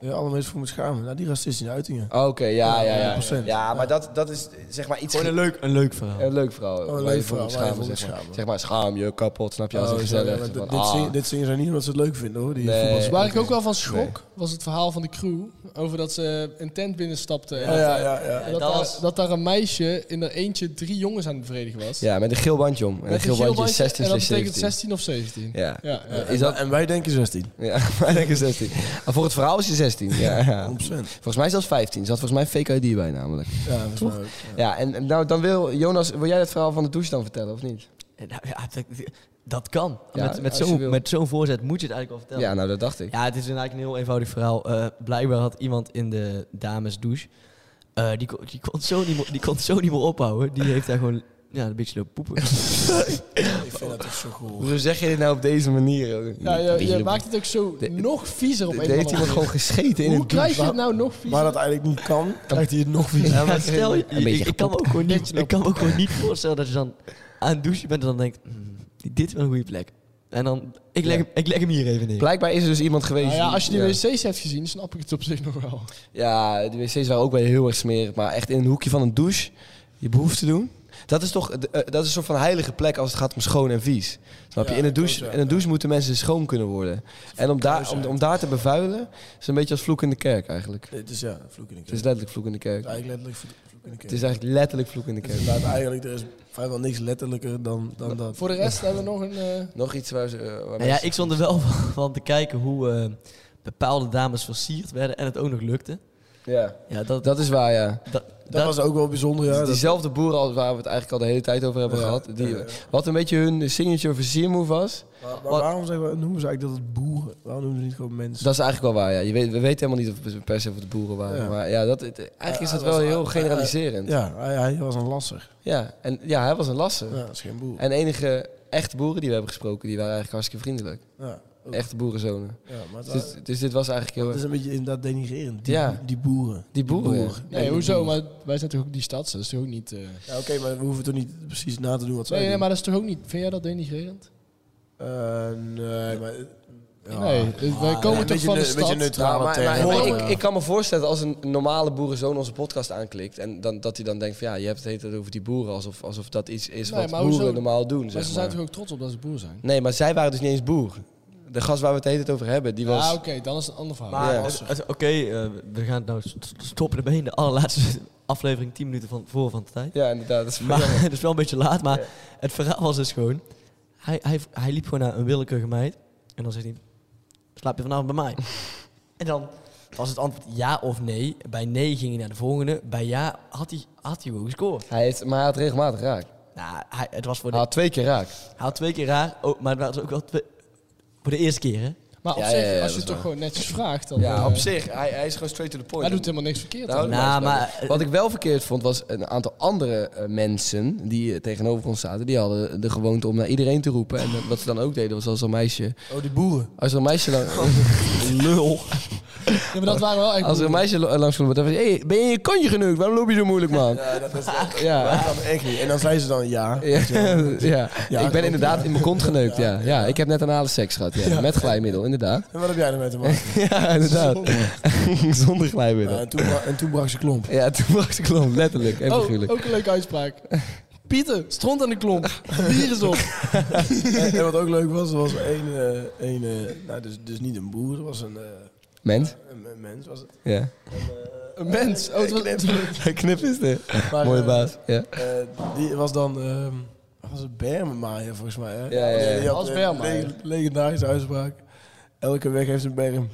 S3: Ja, alle mensen voor me schamen. Nou, die racistische uitingen.
S2: Oh, Oké, ja, ja, ja, ja.
S3: 100%.
S2: maar dat, dat is zeg maar iets.
S1: Gewoon een
S2: ge-
S1: leuk, een leuk verhaal.
S2: Een leuk verhaal. waar
S3: leuk
S2: je voor
S3: verhaal,
S2: moet
S3: waar je voor
S2: schamen,
S3: moet
S2: zeg maar.
S3: schamen.
S2: Zeg maar, schaam je kapot, snap je? Als ik
S3: Oh,
S2: gezellig.
S3: ja, maar
S2: zeg maar,
S3: dit, dit
S2: ah.
S3: zingen, dit zingen ze niet omdat ze het leuk vinden hoor. Die
S2: Nee.
S3: voetballers.
S4: Waar ik ook wel van schrok, was het verhaal van de crew. Over dat ze een tent binnenstapten. en
S3: Ja, ja, ja. ja.
S4: En
S1: dat
S4: dat, daar,
S1: was-
S4: dat daar een meisje in haar eentje drie jongens aan het bevredigen was.
S2: Ja, met een geel bandje om. En een
S4: Met
S2: geel
S4: een geel
S2: bandje is 16
S4: en dat
S2: slash
S4: betekent
S2: 17.
S4: 16 of 17.
S2: Ja.
S4: Ja, ja.
S2: Is dat,
S3: En wij denken 16.
S2: ja, maar ik denk een 16. Maar voor het verhaal is je 16. Ja, ja.
S3: 100%.
S2: Volgens mij zelfs 15. Er zat volgens mij fake ID bij namelijk.
S3: Ja, volgens mij ook.
S2: Ja, en en nou, dan wil Jonas, wil jij het verhaal van de douche dan vertellen of niet?
S1: En nou ja, dat, dat kan.
S2: Ja,
S1: met met
S2: als je
S1: zo'n
S2: wil.
S1: met zo'n voorzet moet je het eigenlijk wel vertellen.
S2: Ja, nou dat dacht ik.
S1: Ja, het is een- eigenlijk een heel eenvoudig verhaal. Eh, blijkbaar had iemand in de damesdouche... eh die, kon, die, kon zo niet meer, die kon het zo niet meer ophouden. Die heeft daar gewoon ja, een beetje lopen poepen.
S3: Ik vind dat toch zo cool.
S2: Hoe zeg je dit nou op deze manier?
S4: Ja, je, je maakt het ook zo
S2: De-
S4: nog viezer op een
S2: Er
S4: of andere
S2: heeft iemand
S4: manier.
S2: gewoon gescheten in
S4: Hoe
S2: een
S4: krijg je
S2: douche.
S4: het nou nog viezer?
S3: Waar dat eigenlijk niet kan, krijgt hij het nog weer.
S1: Ja, maar stel, je-
S2: Een beetje
S1: ik, ik kan me ook gewoon niet, ik kan me ook gewoon niet voorstellen dat je dan aan het douchen bent en dan denkt... "Hmm, dit is wel een goede plek. En dan, ik leg, hem- ik leg hem hier even neer.
S2: Blijkbaar is er dus iemand geweest.
S4: Nou ja, als je die
S2: ja.
S4: wc's hebt gezien, snap ik het op zich nog wel.
S2: Ja, die wc's waren ook wel heel erg smerig. Maar echt in een hoekje van een douche je behoefte doen. Dat is toch eh, dat is een soort van heilige plek als het gaat om schoon en vies. Snap je?
S3: Ja,
S2: in, een
S3: dat
S2: douche,
S3: klopt, ja.
S2: in een douche moeten mensen schoon kunnen worden. En om daar, om, om daar te bevuilen is een beetje als vloek in de kerk eigenlijk.
S3: Het is ja, vloek in de
S2: Het is
S3: kerk.
S2: letterlijk vloek in de kerk.
S3: Het is eigenlijk letterlijk vloek- vloek in de kerk.
S2: Het is eigenlijk letterlijk vloek in de
S3: Het
S2: kerk.
S3: is inderdaad eigenlijk, er is vrijwel niks letterlijker dan, dan dat.
S4: Voor de rest hebben we nog een... eh,
S2: Nog iets waar ze... eh, waar
S1: Nou ja,
S2: mensen-
S1: ik stond er wel van, van te kijken hoe eh, bepaalde dames versierd werden en het ook nog lukte.
S2: ja,
S1: Ja, dat, dat,
S2: dat is waar, ja.
S1: dat,
S3: dat, was ook wel bijzonder, ja.
S2: Dus
S3: Dat,
S2: diezelfde boeren als waar we het eigenlijk al de hele tijd over hebben
S3: Ja,
S2: gehad. Die,
S3: ja, ja.
S2: Wat een beetje hun signature versier move was.
S3: maar, maar waarom zeggen we, noemen ze eigenlijk dat het boeren? Waarom noemen ze niet gewoon mensen?
S2: Dat is eigenlijk wel waar. Ja. Je weet, we weten helemaal niet of het per se of het boeren waren.
S3: Ja.
S2: Maar ja, dat, het- eigenlijk is dat
S3: Ja, dat
S2: wel
S3: was-
S2: heel
S3: eh,
S2: generaliserend. Ja.
S3: ja, hij, hij was een lasser.
S2: en ja, hij was een
S3: Ja,
S2: lasser.
S3: dat is geen boer.
S2: En enige echte boeren die we hebben gesproken, die waren eigenlijk hartstikke vriendelijk.
S3: Ja.
S2: Echte boerenzonen.
S3: Ja, maar het, wa-
S2: Dus, dus dit was eigenlijk heel
S3: het is
S2: erg...
S3: een beetje inderdaad denigrerend. Die,
S2: Ja.
S3: die boeren.
S2: Die boeren.
S4: Nee, hoezo? Maar wij zijn toch ook die stads? Dat is toch ook niet... eh,
S3: Ja, oké, maar we hoeven toch niet precies na te doen wat zij
S4: Nee, nee,
S3: doen?
S4: maar dat is toch ook niet... Vind jij dat denigrerend?
S3: Eh, nee, maar... Ja.
S4: Nee, eh, wij komen
S3: een
S4: toch
S3: beetje
S4: van de
S3: neu- een beetje
S4: stad?
S3: neutraal
S2: maar, maar-
S3: termen.
S2: maar ik, ik kan me voorstellen dat als een normale boerenzoon onze podcast aanklikt... en dan, dat hij dan denkt van ja, je hebt het de hele tijd over die boeren... alsof, alsof dat iets is
S4: Nee,
S2: wat
S4: maar
S2: boeren
S4: hoezo?
S2: normaal doen,
S4: Maar
S2: zeg
S4: ze
S2: maar.
S4: zijn toch ook trots op dat ze boer zijn?
S2: Nee, maar zij waren dus niet eens boer. De gast waar we het de hele tijd over hebben, die was...
S4: Ah, oké, dan is het een ander verhaal.
S2: Maar- Ja.
S1: het- het- Oké, eh, we gaan het nou st- st- stoppen ermee in de allerlaatste aflevering, 10 minuten van, voor van de tijd.
S2: Ja, inderdaad. Dat is
S1: Maar het is wel een beetje laat, maar het verhaal was dus gewoon... Hij, hij, hij liep gewoon naar een willekeurige meid en dan zegt hij... Slaap je vanavond bij mij? en dan was het antwoord ja of nee. Bij nee ging hij naar de volgende. Bij ja had hij, had hij gewoon gescoord.
S2: Hij heeft, maar hij had regelmatig raak.
S1: Nou, hij, het was voor de,
S2: Hij had twee keer raak.
S1: hij had twee keer raar, oh, maar het was ook wel twee- voor de eerste keer, hè?
S4: Maar op
S2: Ja,
S4: zich,
S2: ja, ja, dat
S4: als je
S2: is
S4: het toch
S2: waar.
S4: gewoon netjes vraagt, dan...
S2: Ja,
S4: eh,
S2: op zich. Hij, hij is gewoon straight to the point.
S4: Hij doet helemaal niks verkeerd.
S2: Daar
S4: dan.
S2: houden we
S1: Nou,
S2: maar eens
S1: maar-
S2: van. Wat ik wel verkeerd vond, was een aantal andere eh, mensen die eh, tegenover ons zaten. Die hadden de gewoonte om naar iedereen te roepen. En eh, wat ze dan ook deden, was als een meisje...
S3: Oh, die boeren.
S2: Als er een meisje, lang, Oh.
S1: Lul.
S4: Ja, maar dat waren wel echt...
S2: als er een
S4: boeren.
S2: meisje lo- langs kwam, dan was hey, ben je in je kantje geneukt? Waarom loop je zo moeilijk, man?
S3: Ja, dat is echt,
S2: Ja.
S3: dat kan echt niet. En dan zei ze dan ja.
S2: Ja, ja. ik ben
S3: klopt,
S2: inderdaad
S3: ja.
S2: in mijn kont geneukt, ja. Ja, ik heb net anale seks gehad, ja. Met glijmiddel, inderdaad.
S3: En wat heb jij ermee te maken?
S2: Ja, inderdaad. Zonder
S3: Nou,
S2: glijmiddel.
S3: en, toen, bra- en toen brak ze klomp.
S2: Ja, toen was ik klom, letterlijk en figuurlijk.
S4: Oh, ook een leuke uitspraak. Pieter, stront aan de klomp. Bier is op.
S3: en, en wat ook leuk was, er was één, eh, één eh, nou, dus, dus niet een boer, er was een, eh,
S2: Mens?
S3: een, een mens. Was het.
S2: Ja.
S4: Een mens. Oh, het was
S2: Knip is de.
S3: Maar,
S2: Mooie
S3: eh,
S2: baas. Ja.
S3: eh, die was dan, ehm wat was het Bermenmaaier volgens mij. Hè?
S2: Ja, ja, ja.
S3: Die had
S4: Als
S3: een
S4: Bermenmaaier.
S3: le- legendarische uitspraak. Elke weg heeft een berm.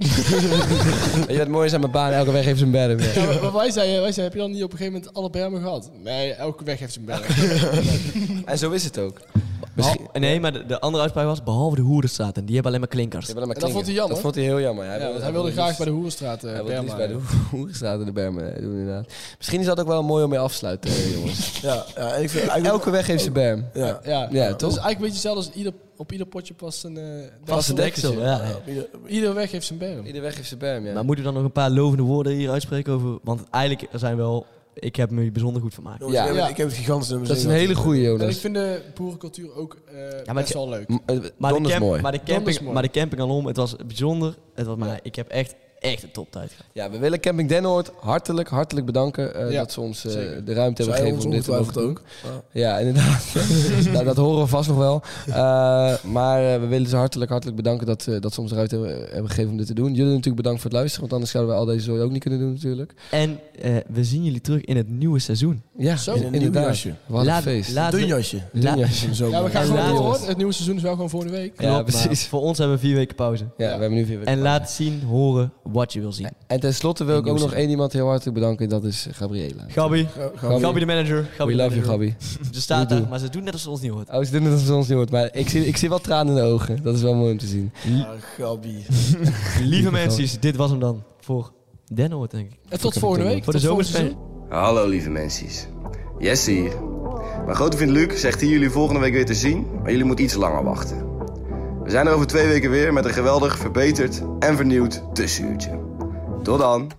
S2: Weet je wat mooi is aan mijn baan? Elke weg heeft zijn berm. Ja.
S4: Ja, maar- maar wij zeiden, wij zeiden, heb je dan niet op een gegeven moment alle bermen gehad? Nee, elke weg heeft zijn berm.
S2: En zo is het ook. Misschien...
S1: Misschien... Nee, maar de, de andere uitspraak was... Behalve de hoerenstraat en die hebben alleen maar klinkers.
S2: Ja, maar maar
S4: En dat vond hij jammer.
S2: Dat vond hij heel jammer.
S4: Ja, want hij wilde graag bij de Hoerenstraat eh
S2: Hij wilde het
S4: bermen.
S2: liefst bij de hoerenstraat in de bermen eh, doen, inderdaad. Misschien is dat ook wel mooi om mee af te sluiten, eh, jongens.
S3: ja, ja, en ik vind eigenlijk...
S2: Elke weg heeft zijn berm.
S3: Ja,
S4: Ja,
S2: Ja,
S4: dat
S2: toch?
S4: is eigenlijk een beetje hetzelfde als ieder, op ieder potje past een eh,
S1: Vaste
S4: deksel.
S1: deksel, ja. ja.
S3: ieder-
S4: Ieder weg heeft zijn berm.
S2: Ieder weg heeft zijn berm, ja.
S1: Maar moeten we dan nog een paar lovende woorden hier uitspreken over? Want eigenlijk zijn wel... Ik heb me hier bijzonder goed vermaakt.
S3: jongens,
S2: Ja.
S3: ik, heb,
S4: Ja.
S3: ik heb het gigantische nummer
S2: dat is een
S3: zeven.
S2: hele goeie,
S4: En
S2: Jonas.
S4: ik vind de boerencultuur ook eh,
S1: maar
S4: best
S1: ik-
S4: wel leuk.
S2: M- eh,
S1: Maar de,
S2: Don is
S1: camp-
S2: mooi.
S1: maar de
S4: Don is
S1: camping,
S4: mooi.
S1: maar de camping alom, het was bijzonder. Het was maar, ik heb echt, echt een toptijd gehad.
S2: Ja, we willen Camping Den Noord hartelijk, hartelijk bedanken eh,
S4: Ja,
S2: dat ze ons eh,
S4: zeker.
S2: de ruimte hebben
S3: Zij
S2: gegeven
S3: ons
S2: om dit te mogen
S3: ongetwijfeld
S2: doen.
S3: ook.
S2: Ja, inderdaad. nou, dat horen we vast nog wel. Eh, maar eh, we willen ze hartelijk, hartelijk bedanken dat, eh, dat ze ons de ruimte hebben, hebben gegeven om dit te doen. Jullie natuurlijk bedankt voor het luisteren, want anders zouden we al deze zooi ook niet kunnen doen natuurlijk.
S1: En eh, we zien jullie terug in het nieuwe seizoen.
S2: Ja,
S4: Zo.
S2: in-
S3: In een nieuw
S2: inderdaad.
S3: jasje.
S2: Wat een
S1: Laat-
S2: feest.
S1: laat-
S3: Dun jasje.
S1: La-
S2: Ja,
S3: In de zomer.
S4: Ja, we gaan
S1: En
S4: gewoon
S1: laat-
S4: door. hoor. Het nieuwe seizoen is wel gewoon volgende week.
S2: Ja,
S1: Klopt, maar
S2: precies.
S1: Voor ons hebben we vier weken pauze.
S2: we hebben nu weer...
S1: En laat zien, horen wat je wil zien.
S2: En tenslotte wil ik
S1: Nieuw
S2: ook nog
S1: seizoen.
S2: één iemand heel hartelijk bedanken, dat is Gabriela.
S1: Gabi,
S2: Gabi.
S1: Gabi de manager. Gabi
S2: We
S1: de
S2: love you,
S1: manager.
S2: Gabi.
S1: Ze staat
S2: We
S1: daar,
S2: do.
S1: maar ze doet net alsof ze ons niet hoort.
S2: Oh, ze doen het alsof ze ons niet hoort, maar ik zie, ik zie wel tranen in de ogen. Dat is wel mooi om te zien.
S3: Ah, Gabi.
S1: Lieve mensen, dit was hem dan voor Den Hoort, denk ik.
S4: En tot volgende week.
S1: Voor de
S4: Tot volgend
S1: zomerspecial.
S4: seizoen.
S6: Hallo lieve mensen. Jesse hier. Mijn grote vriend Luc zegt hier jullie volgende week weer te zien, maar jullie moeten iets langer wachten. We zijn er over twee weken weer met een geweldig verbeterd en vernieuwd tussenuurtje. Tot dan.